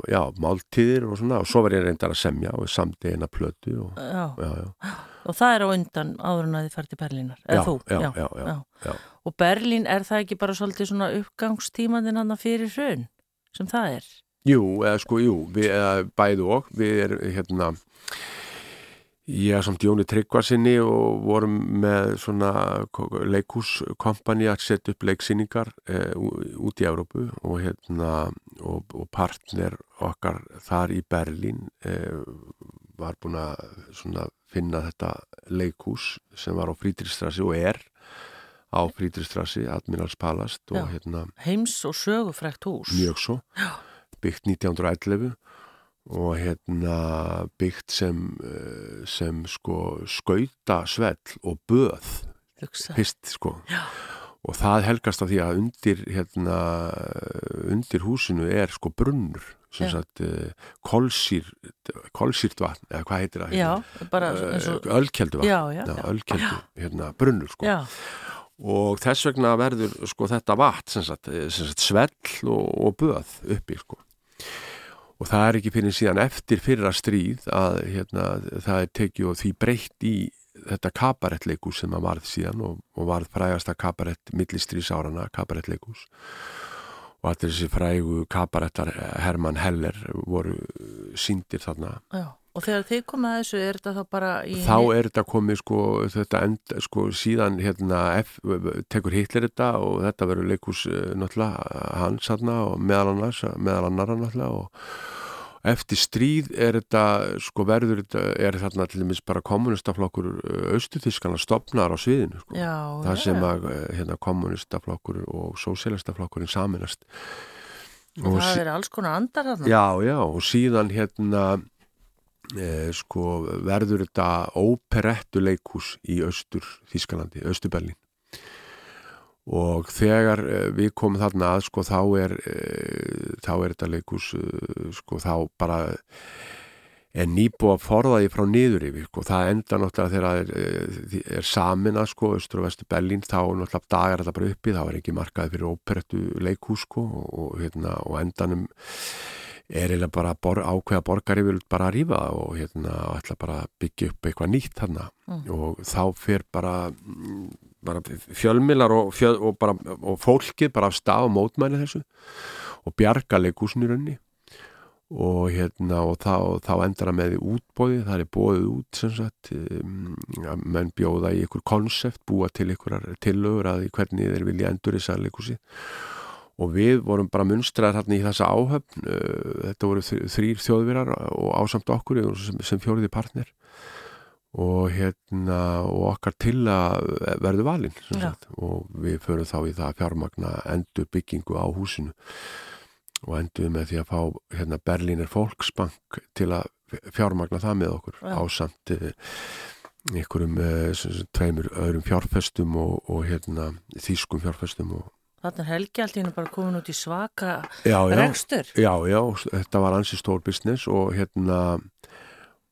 B: já, máltíðir og svona og svo var ég reyndar að semja og samdi eina plötu og
A: Já,
B: já, já,
A: og það er á undan áður en að þið fært í Berlínar, eða
B: já,
A: þú?
B: já, já, já, já,
A: Og Berlín, er það ekki bara svolítið svona uppgangstímaðin hann fyrir hrun, sem það er?
B: Jú, eða sko, jú, við eða, bæðu og við er hérna ég samt Jóni Tryggvarsinni og vorum með svona leikhúskompani að setja upp leiksýningar e, út í Evrópu og hérna og, og partner okkar þar í Berlín e, var búin að svona finna þetta leikhús sem var á Frítristrassi og er á Frítristrassi, Admirals Palast og
A: Já.
B: hérna
A: Heims og sögufrækt hús.
B: mjög svo byggt 1911 og hérna byggt sem, eh, sem sko skautasvell og böð
A: Hugsa.
B: fyrst sko og það helgast af því að undir hérna, undir húsinu er sko brunnur sem
A: Já.
B: sagt eh, kolsýr kolsýrt vatn, eða hvað heitir það
A: Já, bara
B: Eh,
A: eins og...
B: ölkeldu vatn
A: Já, já, já.
B: ölkeldu, hérna brunnur sko
A: Já,
B: og þess vegna verður sko þetta vatn sem sagt, eh, sem sagt svell og, og böð uppi sko og það er ekki fyrir síðan eftir fyrra stríð að hérna, það er tekið og því breytt í þetta kabarettleikus sem að varð síðan og, og varð frægasta kabarett millistrísárana kabarettleikus og allir þessi frægu kabarettar eh, Hermann Heller voru síndir þarna
A: já. Og þegar þið komið að þessu, er þetta þá bara í...
B: þá er þetta komið sko, þetta end, sko síðan hérna F, tekur Hitler þetta og þetta verður leikús náttúrulega hans hérna og meðal annars, meðal annara náttúrulega og eftir stríð er þetta sko verður þetta, er þarna til dæmis bara kommunistaflokkur austutískana stopnar á sviðinu sko
A: Já,
B: það
A: já.
B: sem að eh, hérna, kommunistaflokkur og sósélastaflokkurinn saminast
A: Og það er alls konar andar þarna.
B: Já, já, og síðan hérna e, sko, verður þetta óperettu leikhús í Östur Þískalandi, Östurberlin og þegar e, við komum þarna að sko, þá, er, e, þá er þetta leikhús e, sko, þá bara er nýbúið að forða því frá niður yfir sko. það enda náttúrulega þegar það er, eh, er samina sko, östur og vestu Berlín þá náttúrulega dagar þetta bara uppi þá er ekki markaði fyrir óperettu leikhús sko, og, og, hérna, og endanum er eiginlega bara að bor, ákveða borgari vil bara að rífa það og hérna og ætla bara að byggja upp eitthvað nýtt þarna
A: Mm.
B: og þá fer bara, mm, bara fjölmilar og, fjöl, og, bara, og fólkið bara af stað og mótmæli þessu og bjarga leikúsinu raunni og hérna og þá, þá endar það með því útbóði, það er bóðið út sem sagt, um, að menn bjóða í ykkur konsept, búa til ykkur tillögur að því hvernig þeir vilja endur þess að leikúsi og við vorum bara munstraðar hérna í þessa áhöfn uh, þetta voru þr- þrír þjóðvirar og ásamt okkur við vorum sem, sem fjóriði partner og hérna og okkar til að verðu valinn sem
A: Já.
B: sagt. og við förum þá í það að fjármagna endur byggingu á húsinu og enduðum með því að fá hérna, Berlínir Volksbank til að fjármagna það með okkur
A: Já.
B: ásamt eh, einhverjum eh, sem sagt, tveimur öðrum fjárfestum og, og hérna, þýskum fjárfestum og,
A: Þarna er Helgi allt í hennu bara komin út í svaka
B: já, já,
A: rekstur.
B: Já, já, þetta var ansi stór business og hérna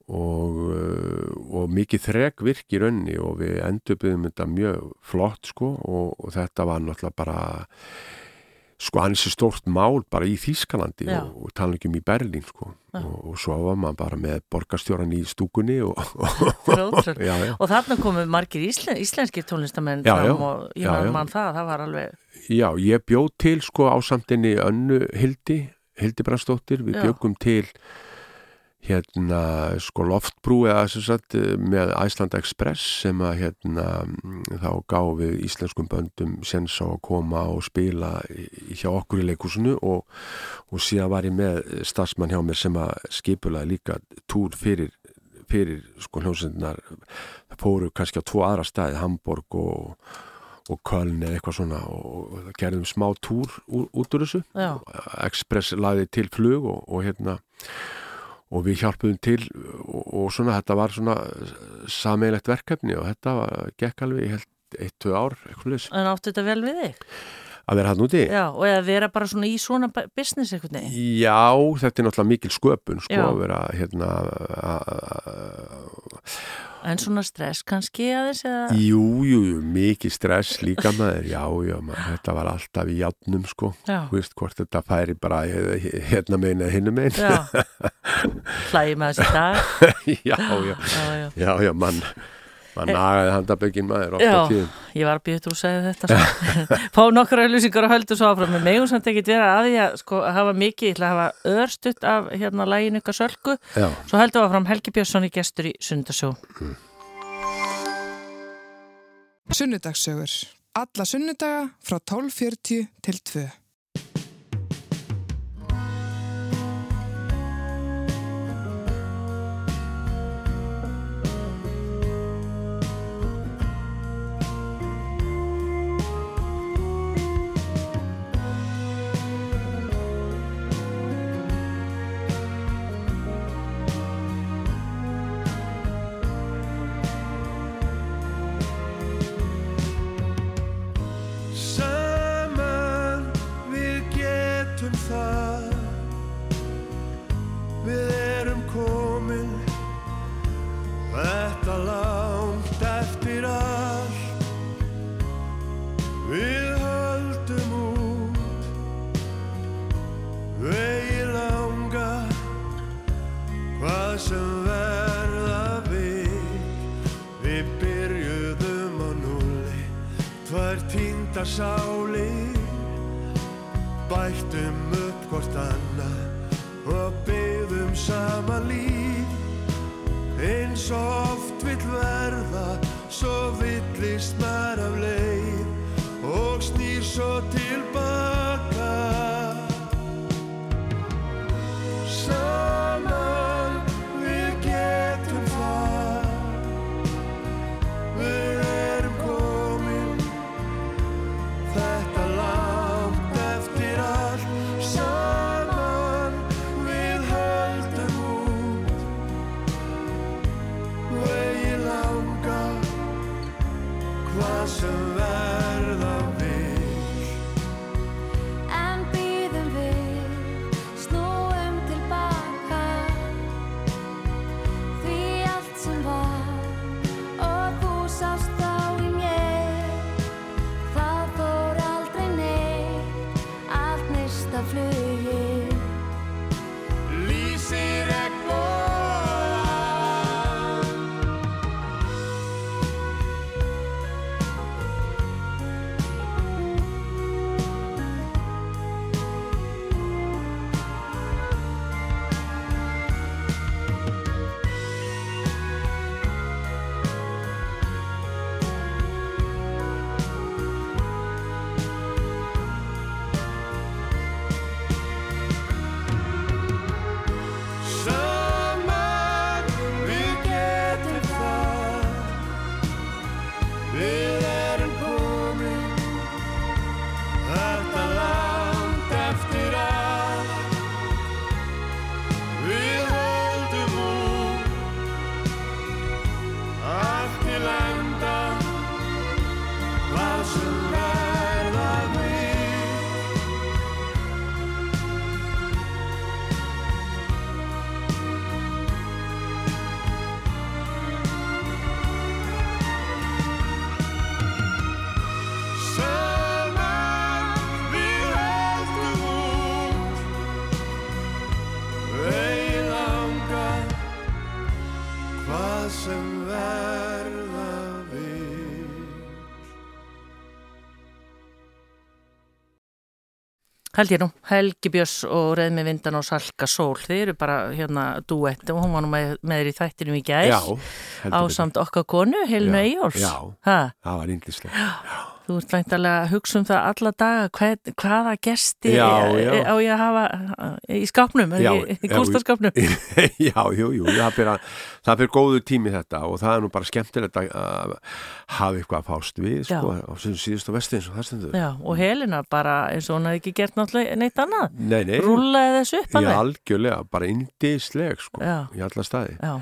B: og, uh, og mikið þreg virk í raunni og við endurbyðum þetta mjög flott sko og, og þetta var náttúrulega bara sko ansi stórt mál bara í Þýskalandi
A: Já.
B: og, og tala ekki um í Berlín sko
A: Já.
B: og, og svo var maður bara með borgarstjóran í stúkunni og,
A: Grótröld.
B: já, já.
A: Og þarna komu margir íslen, íslenskir tónlistamenn
B: Já,
A: fram
B: já.
A: og ég
B: Já,
A: man,
B: já.
A: man það, það var alveg...
B: já, ég bjóð til sko á samtinni önnu Hildi Hildi Brandsdóttir, við
A: Já.
B: bjögum til hérna sko loftbrú eða sem sagt með Æsland Express sem að hérna mm, þá gáum við íslenskum böndum sens á að koma og spila í- hjá okkur í leikúsinu og, og síðan var ég með starfsmann hjá mér sem að skipulaði líka túr fyrir fyrir sko hljómsendnar fóru kannski á tvo aðra staði, Hamburg og, og Köln eða eitthvað svona og, og gerðum smá túr úr, út úr þessu
A: já,
B: Express laði til flug og, og hérna og við hjálpuðum til og, og svona þetta var svona sameiglegt verkefni og þetta var, gekk alveg ég held eitt, tvö ár, eitthvað leys
A: en áttu þetta vel við þig?
B: að vera hann úti.
A: Já, og eða vera bara svona í svona ba- business einhvern veginn.
B: Já, þetta er náttúrulega mikil sköpun sko
A: Já.
B: að vera hérna að-
A: En svona stress kannski aðeins eða...
B: jú, jú, jú, mikil stress líka maður, já, já, maður, þetta var alltaf í játnum sko,
A: Já,
B: þú veist hvort þetta færi bara eh, hérna megin eða hinnu megin
A: já. Hlæði með þessi dag.
B: já, já,
A: Já, já.
B: já, já, mann mann nagaði handabökin maður oft á
A: Já,
B: tíðum
A: ég var býtt úr að segja þetta sko. Fá nokkra auðlýsingar og höldu svo áfram með megum samt ekkert vera að því að sko, hafa mikið, ég ætla að hafa örstutt af hérna lægin ykkar sölku
B: já,
A: Svo heldum við áfram Helgi Björnsson í gestur í Sundasjó
C: Sunnudagssögur. Alla sunnudaga frá 12.40 til 2.
D: Saman við getum það Við erum komin Þetta langt eftir allt Við höldum út Vegi langa Hvað sem verða við Við byrjuðum á núli Tvær týnda sálir Bættum upp hvort annað Og byggðum sama líf Eins og oft vill verða Svo villist maður af leið Og snýr svo tilbaka Saman við getum það Við erum komin Þetta langt eftir allt Saman við höldum út Vegi langa Hvað sem verða vil
E: En býðum við, snúum tilbaka Því allt sem var og þú sást þá í mér Það fór aldrei neitt, allt nýst af flugi
D: Lýsi regnbóðan Saman við getum það Við erum komin Þetta langt eftir allt Við höldum út Allt til enda Hvað sem verða við Saman við höldum út Vegi langa Hvað sem verða við
A: Held ég nú, Helgi Björns og Reðmi Vindan og Salka Sól Þið eru bara hérna duett og hún var nú með, með þér í þættinum í gæð
B: já, heldur
A: Á
B: betur.
A: samt okkar konu, Helinu
B: Já,
A: Eyjóls
B: já.
A: Ha,
B: það var índislega
A: Þú ert væntalega að hugsa um það alla daga, hvað, hvaða gesti
B: Já, já.
A: á ég að hafa eh, í skápnum,
B: Já,
A: er ekki, í
B: já,
A: kústarskápnum.
B: já, jú, jú, það fyrir, að, það fyrir góðu tími þetta og það er nú bara skemmtilegt að, að hafa eitthvað að fást við,
A: Já.
B: sko, á sem síðust og vesti eins og það stendur.
A: Já, og Helena bara eins og hún hafði ekki gert náttúrulega neitt annað.
B: Nei, nei,
A: Rúlaði þessu upp
B: ég
A: alveg.
B: algjörlega, bara indisleg, sko,
A: Já.
B: í alla staði.
A: Já.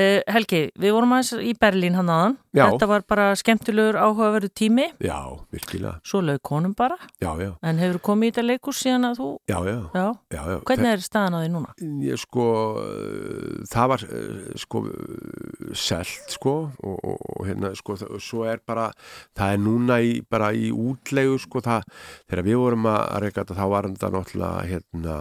A: Uh, Helgi, við vorum aðeins í Berlín hann aðan.
B: Já.
A: Þetta var bara skemmtilegur áhugaverðu tími,
B: Já, virkilega,
A: svo laug konum bara.
B: já, já,
A: En hefur komið í þetta leikus síðan að þú,
B: já, já,
A: já.
B: já, já.
A: Hvernig er staðan á því núna?
B: Ég sko, eh, það var eh, sko eh, selt sko og, og, og hérna sko það- og svo er bara, það er núna í, bara í útlegu sko það, þegar við vorum að reyka þetta þá var þetta náttúrulega hérna,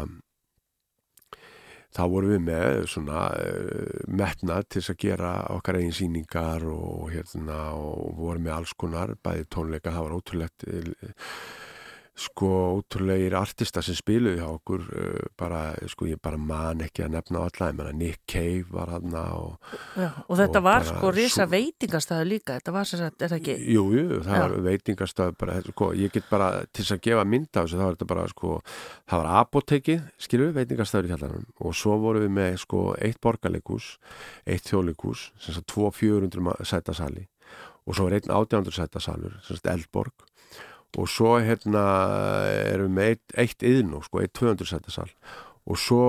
B: þá vorum við með svona eh, metnað til þess að gera okkar eigin sýningar og hérna og vorum með alls konar, bæði tónleika, það var ótrúlegt eh, sko ótrúlegir artista sem spiluði hjá okkur uh, bara, sko ég bara man ekki að nefna alla, ég menna Nick Cave var hann og,
A: Já. Og þetta
B: Og
A: var
B: bara
A: sko risa
B: svo-
A: veitingastæðu líka, þetta var sem sagt, er það ekki?
B: jú, jú, það
A: Já.
B: var veitingastöð bara, sko, ég get bara til þess að gefa mynda þessu, það var þetta bara, sko það var apotekið, skilur við veitingastöður í kjallanum og svo vorum við með, sko eitt borgarleikus, eitt þjóðleikus sem sagt tvo 400 ma- sæta sali og svo var einn 800 sæta salur sem sagt Eldborg og svo hérna erum við með eitt, eitt yðnú, sko, eitt 200 sæta sal og svo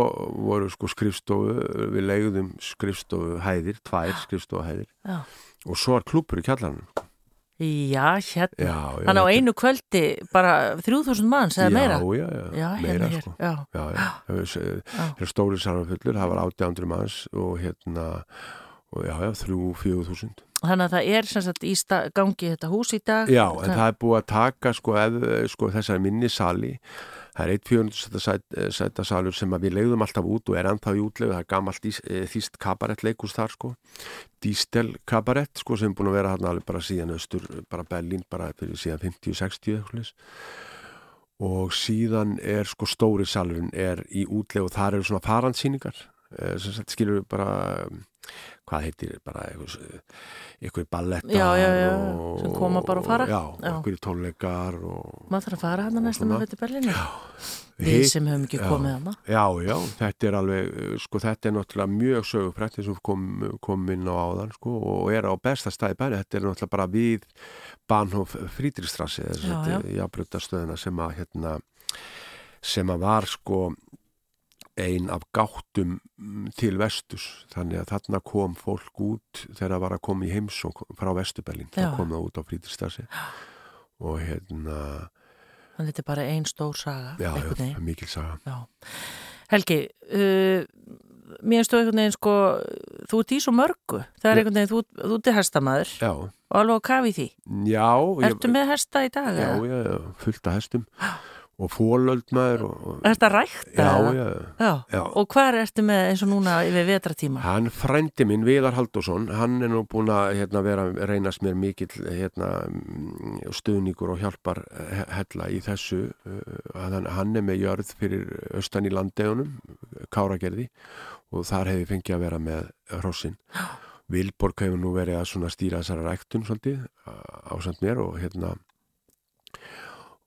B: voru sko skrifstofu, við legðum skrifstofu hæðir, tvær skrifstofu hæðir
A: Já.
B: og svo var klúpur í kjallarunum
A: Já, hérna.
B: já, já,
A: Þannig á
B: þetta-
A: einu kvöldi bara 3000 manns eða meira.
B: já, já, já,
A: Já,
B: meira
A: hérna hér.
B: sko
A: Já,
B: já, já, það var,
A: Já.
B: það var stóri sarfafullur, það var 800 manns og hérna og já, já, 3-4 þúsund
A: þannig að það er sem sagt í sta- gangi þetta hús í dag.
B: já, en það er búið að taka sko, ef, sko þessar minni sali það er 1-400 sæta, eh, sæta salur sem að við leiðum alltaf út og er ennþá í útlegu það er gamalt ís- eh, þýst kabarett leikus þar sko dístel kabarett sko sem er búin að vera hann alveg bara síðan austur, bara Berlín bara fyrir síðan 50-60 eitthvað svoleiðis. og síðan er sko stóri salurinn er í útlegu og þar eru svona faransýningar eh, sem sagt skilur við bara um, hvað heitir bara eitthvað, eitthvað ballettar
A: Já, já, já,
B: og,
A: sem koma bara og fara.
B: já,
A: Já.
B: eitthvað tónleikar og
A: Maður þarf að fara hann að næsta
B: Svona.
A: með þetta Berlínu. Við
B: hitt
A: sem höfum ekki
B: já.
A: komið hana.
B: Já, já, þetta er alveg, eh, sko, þetta er náttúrulega mjög sögufrætt eins og við kom, kom inn á áðan, sko, og er á besta stæði bæri, þetta er náttúrulega bara við Bahnhof Friedrichstrasse,
A: Já,
B: þess að jábrutastöðina sem að, hérna, sem að var, sko, ein af gáttum mm, til vestus, þannig að þarna kom fólk út þegar það var að koma í heimsók frá Vesturberlin,
A: Já.
B: það kom það út á Friedrichstrasse og hérna,
A: Þannig að þetta er bara ein stór saga.
B: já, já,
A: einhvern
B: það
A: veginn.
B: er mikil saga.
A: Helgi, uh, mér stóð einhvern veginn sko, þú ert í svo mörgu. Það er
B: Já.
A: einhvern veginn, þú, þú ert hestamæður
B: Já,
A: og alveg að kafi því.
B: já. ég-
A: Ertu með hesta í dag?
B: já,
A: eða?
B: já, já, fullt af hestum og fólöld maður og, og,
A: Ertu að rækta?
B: já,
A: eða?
B: já,
A: já.
B: já.
A: Og hvað ertu með eins og núna yfir vetratíma?
B: Hann frændi minn, Viðar Haldursson, hann er nú búin að hérna, vera, reynast mér mikill hérna, mm, stuðningur og hjálpar eh, hella í þessu. eh, að Hann, hann er með jörð fyrir austan í landegunum, Káragerði, og þar hefði fengið að vera með hrossin. Vilborg hefur nú verið að svona stýra þessari ræktun svolítið ásamt mér og hérna...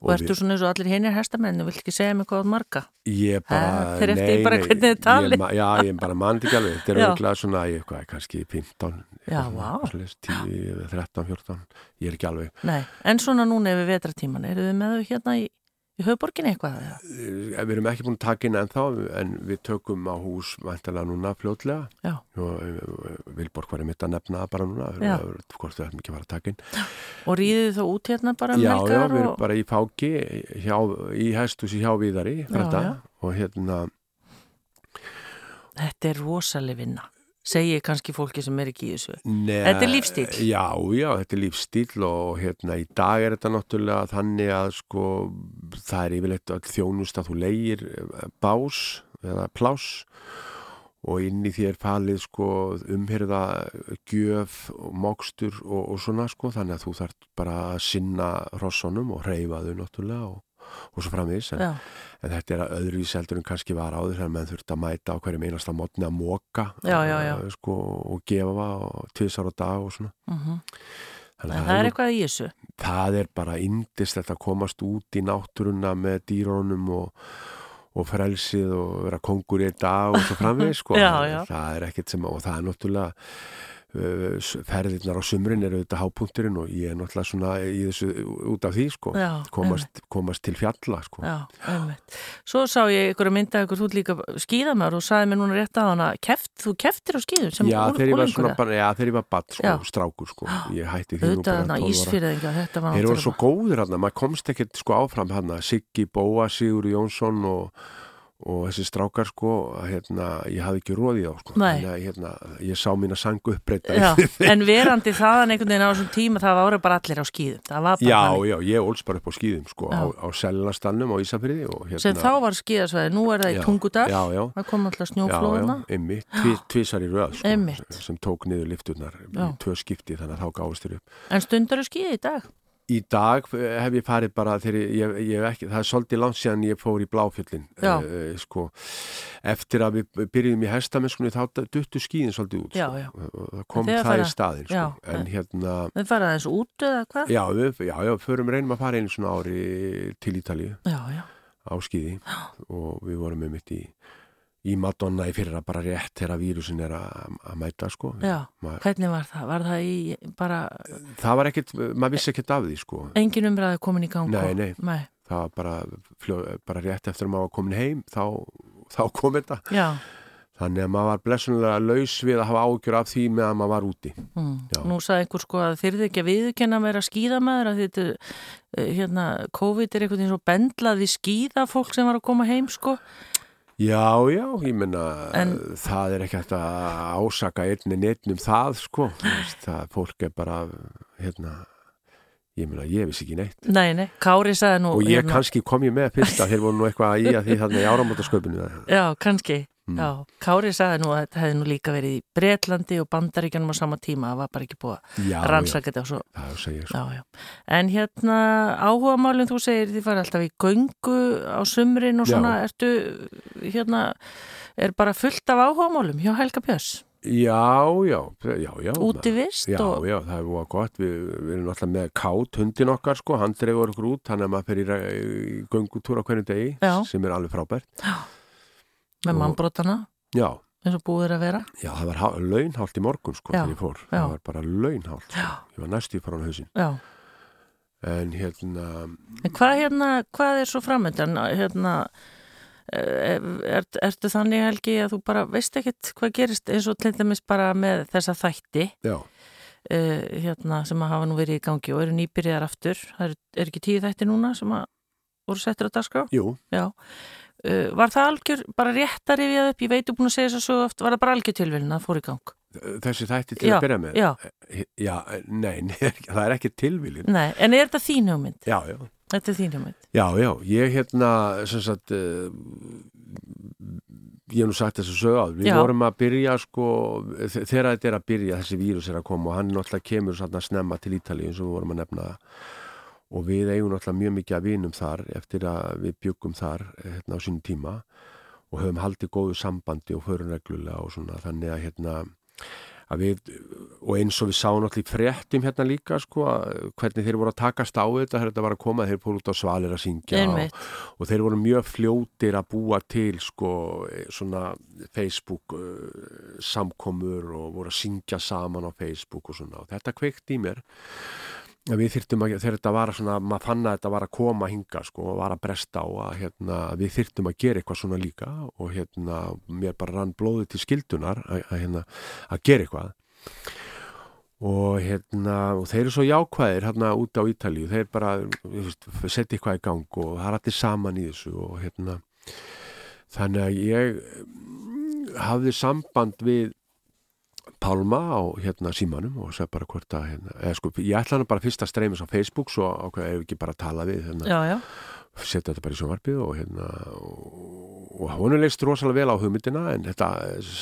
A: Og,
B: og við-
A: ertu svona eins og allir hinir hestamennu, vilt ekki segja mig hvað þú ert marga?
B: Ég bara,
A: Ah, fer eftir bara hvernig þið
B: ég
A: talið.
B: ma- Já, ég bara mann ekki alveg, þetta er
A: Já.
B: auðvitað svona, ég, hvað, kannski 15,
A: Já,
B: eitthvað svona,
A: vá.
B: eitthvað svoleiðis, 10, eða 13, 14, ég er ekki alveg.
A: Nei, en svona núna yfir vetratíman, eru þið með þau hérna í, í höfuborginni eitthvað? eða?
B: Eh, Við erum ekki búin að taka inn ennþá, en við tökum á hús vantilega núna fljótlega.
A: Já,
B: Og eh, Vilborg var einmitt að nefna það bara núna,
A: Já.
B: við- hvort við ætlum ekki að fara að taka inn.
A: og ríðið þið þá út hérna bara um
B: já,
A: helgar?
B: já, við erum
A: og...
B: bara í fáki hjá, í hæstusi hjá Viðari, frænda,
A: já.
B: og hérna,
A: Þetta er rosaleg vinna, segi ég kannski fólki sem er ekki í þessu.
B: Nei,
A: Þetta er lífstíll?
B: Já, já, þetta er lífstíl og hérna í dag er þetta náttúrulega þannig að sko það er yfirleitt að þjónust að þú leigir eh, bás eða plás og inn í því er falið sko umhyrða gjöf og mokstur og, og svona sko þannig að þú þarf bara að sinna hrossunum og reyfa þau náttúrulega og, og svo framvegis en
A: Já,
B: En þetta er að öðruvísi heldur en kannski var áður þegar menn þurfti að mæta á hverjum einasta mótni að eh, móka
A: Já, já, já.
B: Sko, og gefa og tvisar á dag og svona.
A: mhm.
B: Þannig
A: En
B: að
A: það er eitthvað í þessu.
B: það er bara indist þetta að komast út í náttúruna með dýrónum og, og frelsið og vera kongur í einn dag og svo framvegis sko.
A: Já,
B: Það-
A: já.
B: það er ekkert sem og það er náttúrulega uh, s- ferðirnar á sumrin eru auðvitað hápunkturinn og ég er náttúrulega svona í þessu út af því sko,
A: Já,
B: komast, komast til fjalla sko.
A: Já, einmitt. Svo sá ég ykkur að mynda ykkur, þú ert líka skíðamör og sagði mér núna rétt að hana, keft, þú keftir á skíðum sem
B: já, þegar ég var
A: úlingur
B: svona, bara- já, þegar ég var badd sko,
A: Já.
B: strákur sko, ég hætti því nú
A: Auðvitað hérna
B: bara
A: hana
B: 12 ára.
A: ísfyrðinga, þetta var
B: Þeir voru svo
A: náttúrulega-
B: góðir hann, maður komst ekkert sko áfram hann, Siggi Bóa, Sigur Jónsson og, og þessi strákar sko, að, hérna, ég hafði ekki róðið á sko,
A: Nei.
B: að hérna, ég sá mína sangu uppbreyta.
A: Já, en verandi þaðan einhvern veginn á þessum tíma það var bara allir á skíðum, það var bara
B: já,
A: þannig.
B: já, ég ólst bara upp á skýðum sko,
A: Já.
B: á, á seljanastannum á Ísafriði og hérna.
A: sem þá var skíðasvæði, nú er það í
B: Já,
A: tungudal
B: já, já.
A: það kom alltaf
B: Já, já,
A: snjóflóðuna
B: einmitt, tvi, tvisar í röð sko,
A: Einmitt.
B: sem tók niður lifturnar í
A: Já.
B: tvö skipti þannig að þá gáðist þér upp.
A: en stundar þú skíði í dag?
B: Í dag eh, hef ég farið bara þegar ég, ég, ég hef ekki, það er svolítið langt síðan ég fór í bláfjöllin
A: Já.
B: eh, sko, eftir að við byrjum í hestamennskunni þá duttu skíðin svolítið út
A: Já,
B: sko.
A: já.
B: og það kom
A: Þegar
B: það
A: fara-
B: í staðin sko.
A: Já,
B: en hérna
A: Við fara aðeins út eða hvað?
B: já, við, já, já, förum reynum að fara einu svona ári til Ítalíu
A: Já, já,
B: á skíði og við vorum með mitt í í Madonna í fyrra bara rétt þegar vírusin er að að mæta sko.
A: já.
B: Ma-
A: Hvernig var það? Var það í bara
B: það var ekkert, maður vissi ekkert af því sko.
A: engin umræði komin í gang?
B: Nei,
A: og-
B: nei. það var bara, fljó, bara rétt eftir að maður var komin heim þá, þá kom þetta
A: Já,
B: þannig að maður var blessunlega laus við að hafa ágjör af því meðan maður var úti Já.
A: mm. nú sagði einhver sko að þeir ekki að viðkenna mér að skýða maður að þetta, eh, hérna, COVID er einhvern veginn svo bendlaði skýða fólk sem var að koma heim sko.
B: Já, já, ég menna
A: En-
B: það er ekki hægt að ásaka einn en einn um það sko Þú veist, það fólk er bara hérna, ég menna ég vissi ekki neitt
A: Nei, nei, Kári sagði nú.
B: og ég
A: hérna,
B: kannski kom ég með fyrst að þeir voru nú eitthvað í að því þannig í áramótasköpunni
A: Já, kannski.
B: Mm.
A: Já, Kári sagði nú að þetta hefði nú líka verið í Bretlandi og Bandaríkjanum á sama tíma, það var bara ekki búið að
B: Já, já,
A: rannsaka þetta og svo.
B: það segir sko.
A: Já, já. En hérna áhuga málum þú segir þið fara alltaf í göngu á sumrin og
B: Já.
A: svona, ertu hérna, er bara fullt af áhuga málum hjá Helga Björns?
B: Já, já, já, já
A: Útivist
B: Já,
A: og...
B: já, það er búið gott, við, við erum alltaf með kát hundin okkar sko, hann dregur okkur út, hann er maður fyrir í göngutúr á hverjum degi,
A: Já.
B: sem er alveg frábært.
A: með
B: og-
A: mannbrotana
B: Já,
A: eins og búið er að vera.
B: já, það var há- launhált í morgun sko,
A: Já,
B: þegar ég fór,
A: já.
B: það var bara launhált, sko. ég var næstu í faran hausinn.
A: Já.
B: En hérna,
A: En hvað hérna, hvað er svo framöndan? Hérna, eh, er, ertu þannig Helgi að þú bara veist ekkit hvað gerist eins og til dæmis bara með þessa þætti
B: já,
A: uh, hérna, sem að hafa nú verið í gangi og eru nýbyrjar aftur. Það eru er ekki tíu þætti núna sem að voru settur á dagskrá?
B: jú,
A: Já. Uh, var það algjör, bara rétt að rifja það upp, ég veit þú búin að segja þess að svo oft, var það bara algjör tilvílin að það fór í gang?
B: þessi þætti til
A: Já,
B: að byrja með.
A: Já,
B: Já, nei, nei, það er ekki tilvílin.
A: nei, en er þetta þín hugmynd?
B: Já, já.
A: Þetta er þín hugmynd?
B: Já, já, ég hérna, sem sagt, uh, ég hef nú sagt þessu sög áður, við
A: Já.
B: vorum að byrja sko, þe- þegar þetta er að byrja, þessi vírus er að koma og hann náttúrulega kemur svona snemma til Ítalíu eins og við vorum að nefna það og við eigum náttúrulega mjög mikið að vinum þar eftir að við byggum þar eh, hérna á sínum tíma og höfum haldið góðu sambandi og förum reglulega og svona þannig að hérna að við, og eins og við sáum allir fréttum hérna líka sko, að hvernig þeir voru að takast á þetta þegar þetta var að koma, þeir fóru út á svalir að syngja
A: Einmitt.
B: og, og þeir voru mjög fljótir að búa til sko, eh, svona Facebook uh, samkomur og voru að syngja saman á Facebook og svona og þetta kveikt í mér að við þyrtum að, þegar þetta var svona, maður fann að þetta var að koma hinga sko, og var að bresta á að hérna, við þyrtum að gera eitthvað svona líka og hérna, mér bara rann blóðið til skildunar að, að, hérna, að gera eitthvað og hérna, og þeir eru svo jákvæðir hérna út á Ítalíu, þeir bara þú veist, setja eitthvað í gang og það er allir saman í þessu og hérna þannig að ég mm, hafði samband við Pálma á hérna símanum og sagði bara hvort að hérna, eða sko, ég ætla hann bara fyrst að streymis á Facebook svo ákveða ef ekki bara að tala við hérna,
A: Já, já,
B: setja þetta bara í sjónvarpið og hérna og, og honum leist rosalega vel á hugmyndina en þetta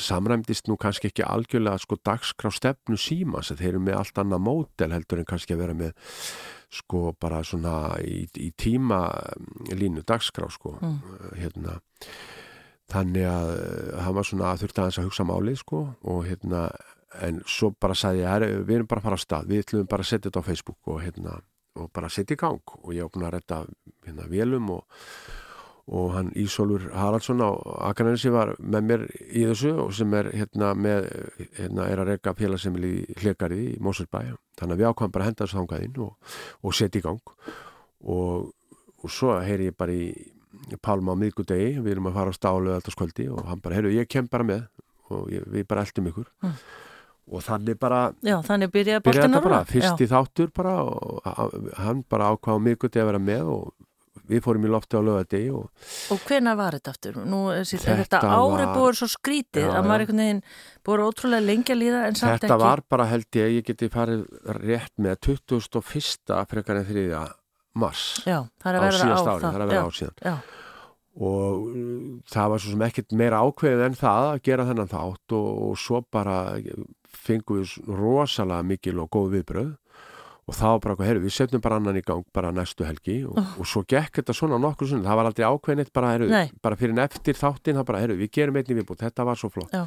B: samræmdist nú kannski ekki algjörlega sko dagskrá stefnu síma sem þeir eru með allt annað mótel heldur en kannski að vera með sko bara svona í, í tíma línu dagskrá sko hérna þannig að eh, hann var svona að þurfti aðeins að hugsa málið sko og hérna en svo bara sagði ég, "Herra, við erum bara að fara að stað, við ætlum bara að setja þetta á Facebook og hérna, og bara setja í gang og ég opna að redda hérna vélum og, og hann Ísolfur Haraldsson á Akanensi var með mér í þessu og sem er hérna með, hérna er að reyka félagsemil í hlekarið í Mósulbæja þannig að við ákvæm bara að henda þessu þangað inn og, og setja í gang og, og svo heyri ég bara í Palma á miðgudegi, við erum að fara á stálu alltaf skvöldi og hann bara, heyrðu, ég kem bara með og ég, við bara eltum ykkur og þannig bara
A: Já, þannig byrjaði
B: byrjaði
A: boltin
B: þetta bara, fyrsti þáttur bara og a- hann bara ákvað á miðgudegi að vera með og við fórum í lofti á lögadegi og
A: Og hvena var þetta aftur? Nú er sér, þetta,
B: Þetta
A: þetta ári
B: var-
A: búið svo skrítið
B: Já,
A: að
B: já.
A: maður einhvern veginn búið ótrúlega lengi að líða en samt
B: þetta
A: ekki.
B: var bara held ég, ég geti farið rétt með 21. frekar en 3. mars
A: Já, það er
B: á
A: að verða á
B: síðast ári, það er að vera
A: já,
B: ár síðan
A: Já,
B: og uh, það var svo sem ekkert meira ákveðið en það að gera þennan þátt og, og svo bara fengum við s- rosalega mikil og góð viðbröð og það var bara eitthvað, heyrðu, við setjum bara annan í gang bara næstu helgi og, og svo gekk þetta svona nokkur svona, það var aldrei ákveðin eitt bara, heyrðu,
A: Oh. Nei.
B: bara fyrir en eftir þáttinn, það bara, heyrðu, við gerum einnig viðbútt, þetta var svo flott
A: Já.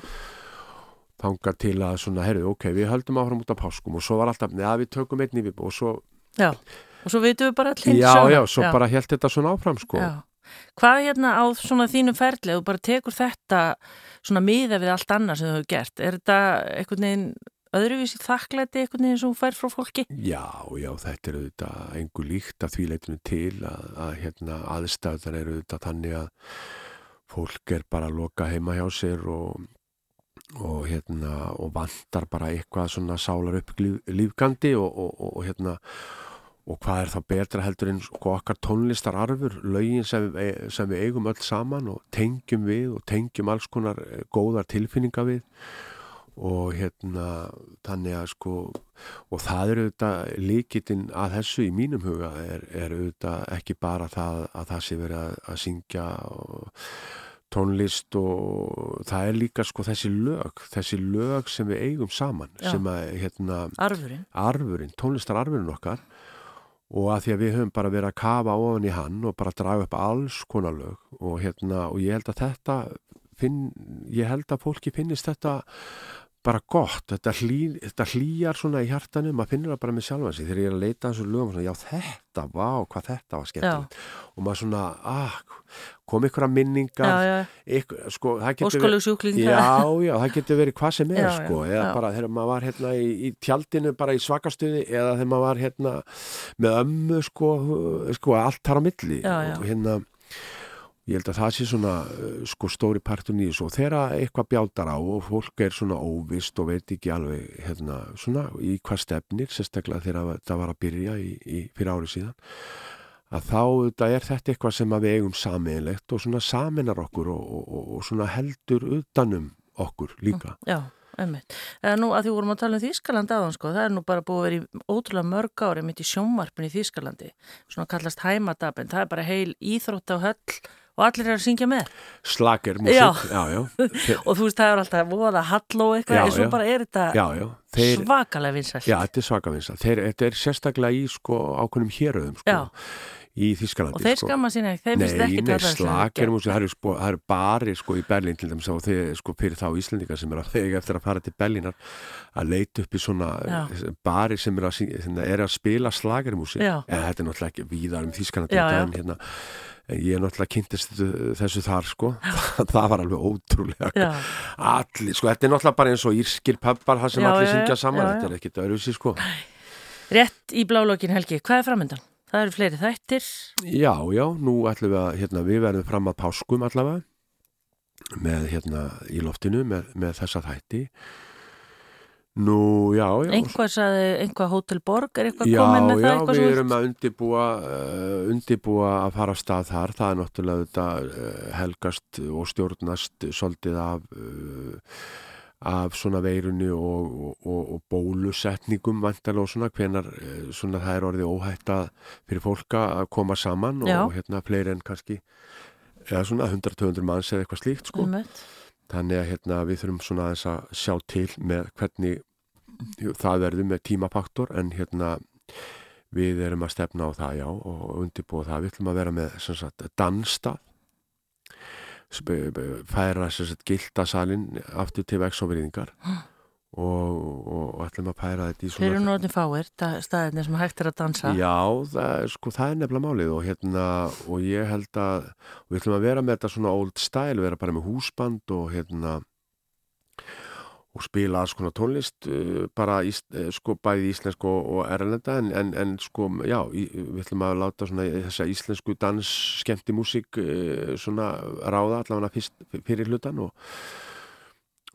B: þangað til að svona, heyrðu, ok, við höldum áfram út af páskum og svo var alltaf, neða, við tökum einnig viðbútt og svo,
A: já. Og svo veitum við bara allir
B: já, já, svo bara held þetta svona áfram, sko.
A: Já. Hvað hérna á svona þínum ferli ef þú bara tekur þetta svona miða við allt annað sem þú hefur gert er þetta einhvern veginn öðruvísi þakklæti einhvern veginn sem þú fær frá fólki
B: Já, já, þetta er auðvitað engu líkt að því leitinu til að, að hérna, aðstæðan eru auðvitað þannig að fólk er bara að loka heima hjá sér og, og, hérna, og vantar bara eitthvað svona sálar upp lífgandi og, og, og, og hérna og hvað er þá betra heldur en sko okkar tónlistararfur, lögin sem, við- e-, sem við eigum öll saman og tengjum við og tengjum alls konar eh, góðar tilfinningar við og hérna þannig að sko og það er auðvitað líkitinn að þessu í mínum huga er, er auðvitað ekki bara það að það sé verið að, að syngja og tónlist og það er líka sko þessi lög, þessi lög sem við eigum saman
A: Já.
B: sem að hérna
A: arfurinn
B: arfurinn, tónlistararfurinn okkar og að því að við höfum bara verið að kafa ofan í hann og bara draga upp alls konar lög og hérna og ég held að þetta finn, ég held að fólki finnist þetta bara gott, þetta, hlý, þetta hlýjar svona í hjartanu, maður finnur það bara með sjálfa sig þegar ég er að leita að þessu lögum svona, já þetta, vá, hvað þetta var skemmt og maður svona, ah, kom ykkur að
A: já,
B: minningar
A: já,
B: ykkur, sko, það getur verið-
A: óskalug sjúklinga
B: Já, já, það getur verið hvað sem er
A: Já, já,
B: sko, eða
A: já.
B: bara þegar maður var hérna í, í tjaldinu bara í svakastuði eða þegar maður var hérna með ömmu sko, hu- sko allt þar á milli
A: Já, já.
B: og hérna ég held að það sé svona uh, sko stóri partun í þessu og þegar eitthvað bjátar á og fólk er svona óvist og veit ekki alveg hérna svona í hvað stefnir sérstaklega þegar þetta var að byrja í, í, fyrir ári síðan að þá þetta er þetta eitthvað sem að við eigum sameinlegt og svona saminar okkur og, og, og, og svona heldur utanum okkur líka.
A: já, einmitt eða nú að því vorum að tala um Þýskaland aðan sko það er nú bara búið að vera í ótrúlega mörg ári mitt í sjónvarpin í Þýskalandi svona kallast hæmadabin, það er bara heil íþrótt á höll og allir er að syngja með
B: Slager músík,
A: Já.
B: já, já, Þe-
A: og þú veist það er alltaf voða halló eitthvað
B: Já,
A: en svo
B: já.
A: bara er þetta
B: já, já, þeir,
A: svakalega vinsælt
B: já, þetta er svakavinsa, þeir, þetta er sérstaklega í sko ákveðnum héröðum sko,
A: Já.
B: í Þískalandi
A: Og þeir
B: sko.
A: skamma sín ekki, þeim finnst
B: Nei,
A: ekki
B: nei, slakir músík, það eru sko, það eru barir sko í Berlín til dæmis og þeir sko fyrir þá Íslendingar sem eru að þegar eftir að fara til Berlínar að leita upp í svona
A: Já.
B: barir sem eru að, syngja- hérna, eru að spila slakir músík,
A: Já.
B: en þetta er náttúrulega ekki víðar um Þískanandi
A: Já, já.
B: en hérna, en ég er náttúrulega kynntist þessu- þessu þar sko, það var alveg ótrúlega
A: Já.
B: allir, sko, þetta er náttúrulega bara eins og írskir pöppar það sem
A: Já,
B: allir
A: já,
B: syngja
A: já,
B: saman,
A: já,
B: þetta er ekkit öðruvísi sko.
A: Rétt í blálókin Helgi, hvað er framöndan? Það eru fleiri þættir,
B: Já, já, nú ætlum við að, hérna, við verðum fram að páskum allavega með, hérna, í loftinu með, með þessa þætti. Nú, já, já.
A: einhvað saði, einhvað Hotel Borg, er eitthvað
B: já,
A: komið með
B: já,
A: það? eitthvað
B: við
A: sem-
B: erum að undibúa, uh, undibúa að fara af stað þar. Það er náttúrulega þetta uh, helgast og stjórnast svolítið af, uh, af svona veirunni og, og, og, og bólusetningum vantarlega og svona hvenar uh, svona það er orðið óhætt að fyrir fólka að koma saman og,
A: Já.
B: hérna fleiri en kannski eða svona 100-200 manns eða eitthvað slíkt sko.
A: Einmitt.
B: Þannig að hérna, við þurfum svona aðeins að sjá til með hvernig það verður með tímafaktor en hérna við erum að stefna á það já og undirbúa það. Við ætlum að vera með sem sagt dansta færa sem sagt gildasalinn aftur til vex og veriðingar og, og, og ætlum að pæra þetta í
A: Þeir eru
B: svona
A: nú orðin fáir, da- staðirnir sem hægt er að dansa.
B: Já, það, er- sko, það er nefnilega málið og, hérna, og ég held að og við ætlum að vera með þetta svona old style vera bara með húsband og hérna og spila alls konar tónlist eh, bara í, eh, sko, bæði íslensk og, og erlenda en, en, en sko, já, í, við ætlum að láta svona þessa íslensku dans skemmti músík svona ráða allavega fyrst, fyrir hlutan og,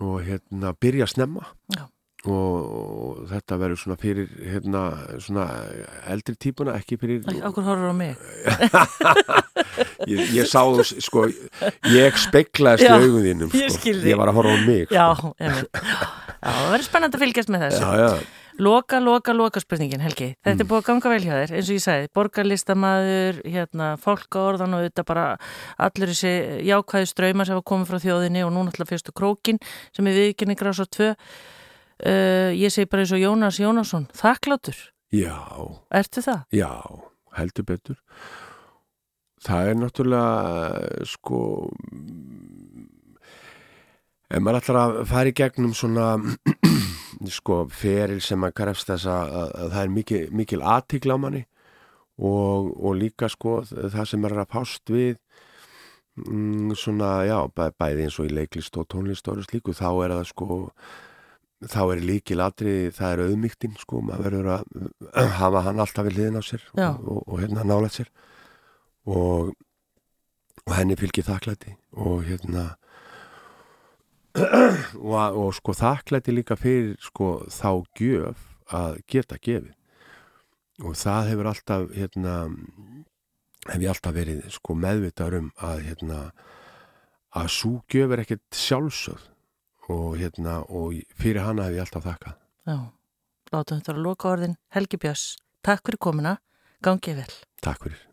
B: og hérna byrja að snemma
A: Já.
B: og, og þetta verður svona fyrir hérna svona eldri típuna ekki fyrir
A: Okkur horfur á mig.
B: ég, ég sá þú, sko, ég speklaðist í
A: Já,
B: augum þínum
A: ég
B: sko.
A: skil þig.
B: ég var að horfa á mig
A: Já,
B: sko.
A: einmitt. Já, það verður spennandi að fylgjast með þessu.
B: já, Mm. já,
A: Loka, loka, loka spurningin, Helgi. Þetta er búið að ganga vel hjá þér, eins og ég sagði. Borgarlistamaður, hérna, fólk á orðan og þetta bara allur þessi jákvæðu ströymar sem hafa komið frá þjóðinni og núna alltaf fyrstu krókin sem er viðkynni grás á tvö. Uh, ég segi bara eins og Jónas Jónasson, þakklátur.
B: já,
A: Ertu það?
B: já heldur betur það er náttúrulega sko ef maður ætlar að fara í gegnum svona sko feril sem að krefst þess að, að, að það er mikil, mikil aðtíkla á manni og, og líka sko það sem maður er að fást við mm, svona já bæ, bæði eins og í leiklist og tónlist og öðru slíku þá er það sko þá er líkil atriði, það er auðmygtin sko, maður verður að hafa hann alltaf við hliðin á sér og,
A: Já.
B: og, og hérna nálega sér og, og henni fylgir þakklæti og hérna og, og sko þakklæti líka fyrir sko þá gjöf að geta gefið og það hefur alltaf hérna hef ég alltaf verið sko meðvitaður um að hérna að sú gjöf er ekkert sjálfsögð og hérna og fyrir hana hef ég alltaf þakkað
A: Já. Látum þetta að loka orðin. Helgi Björns, takk fyrir komuna. Gangið vel.
B: takk fyrir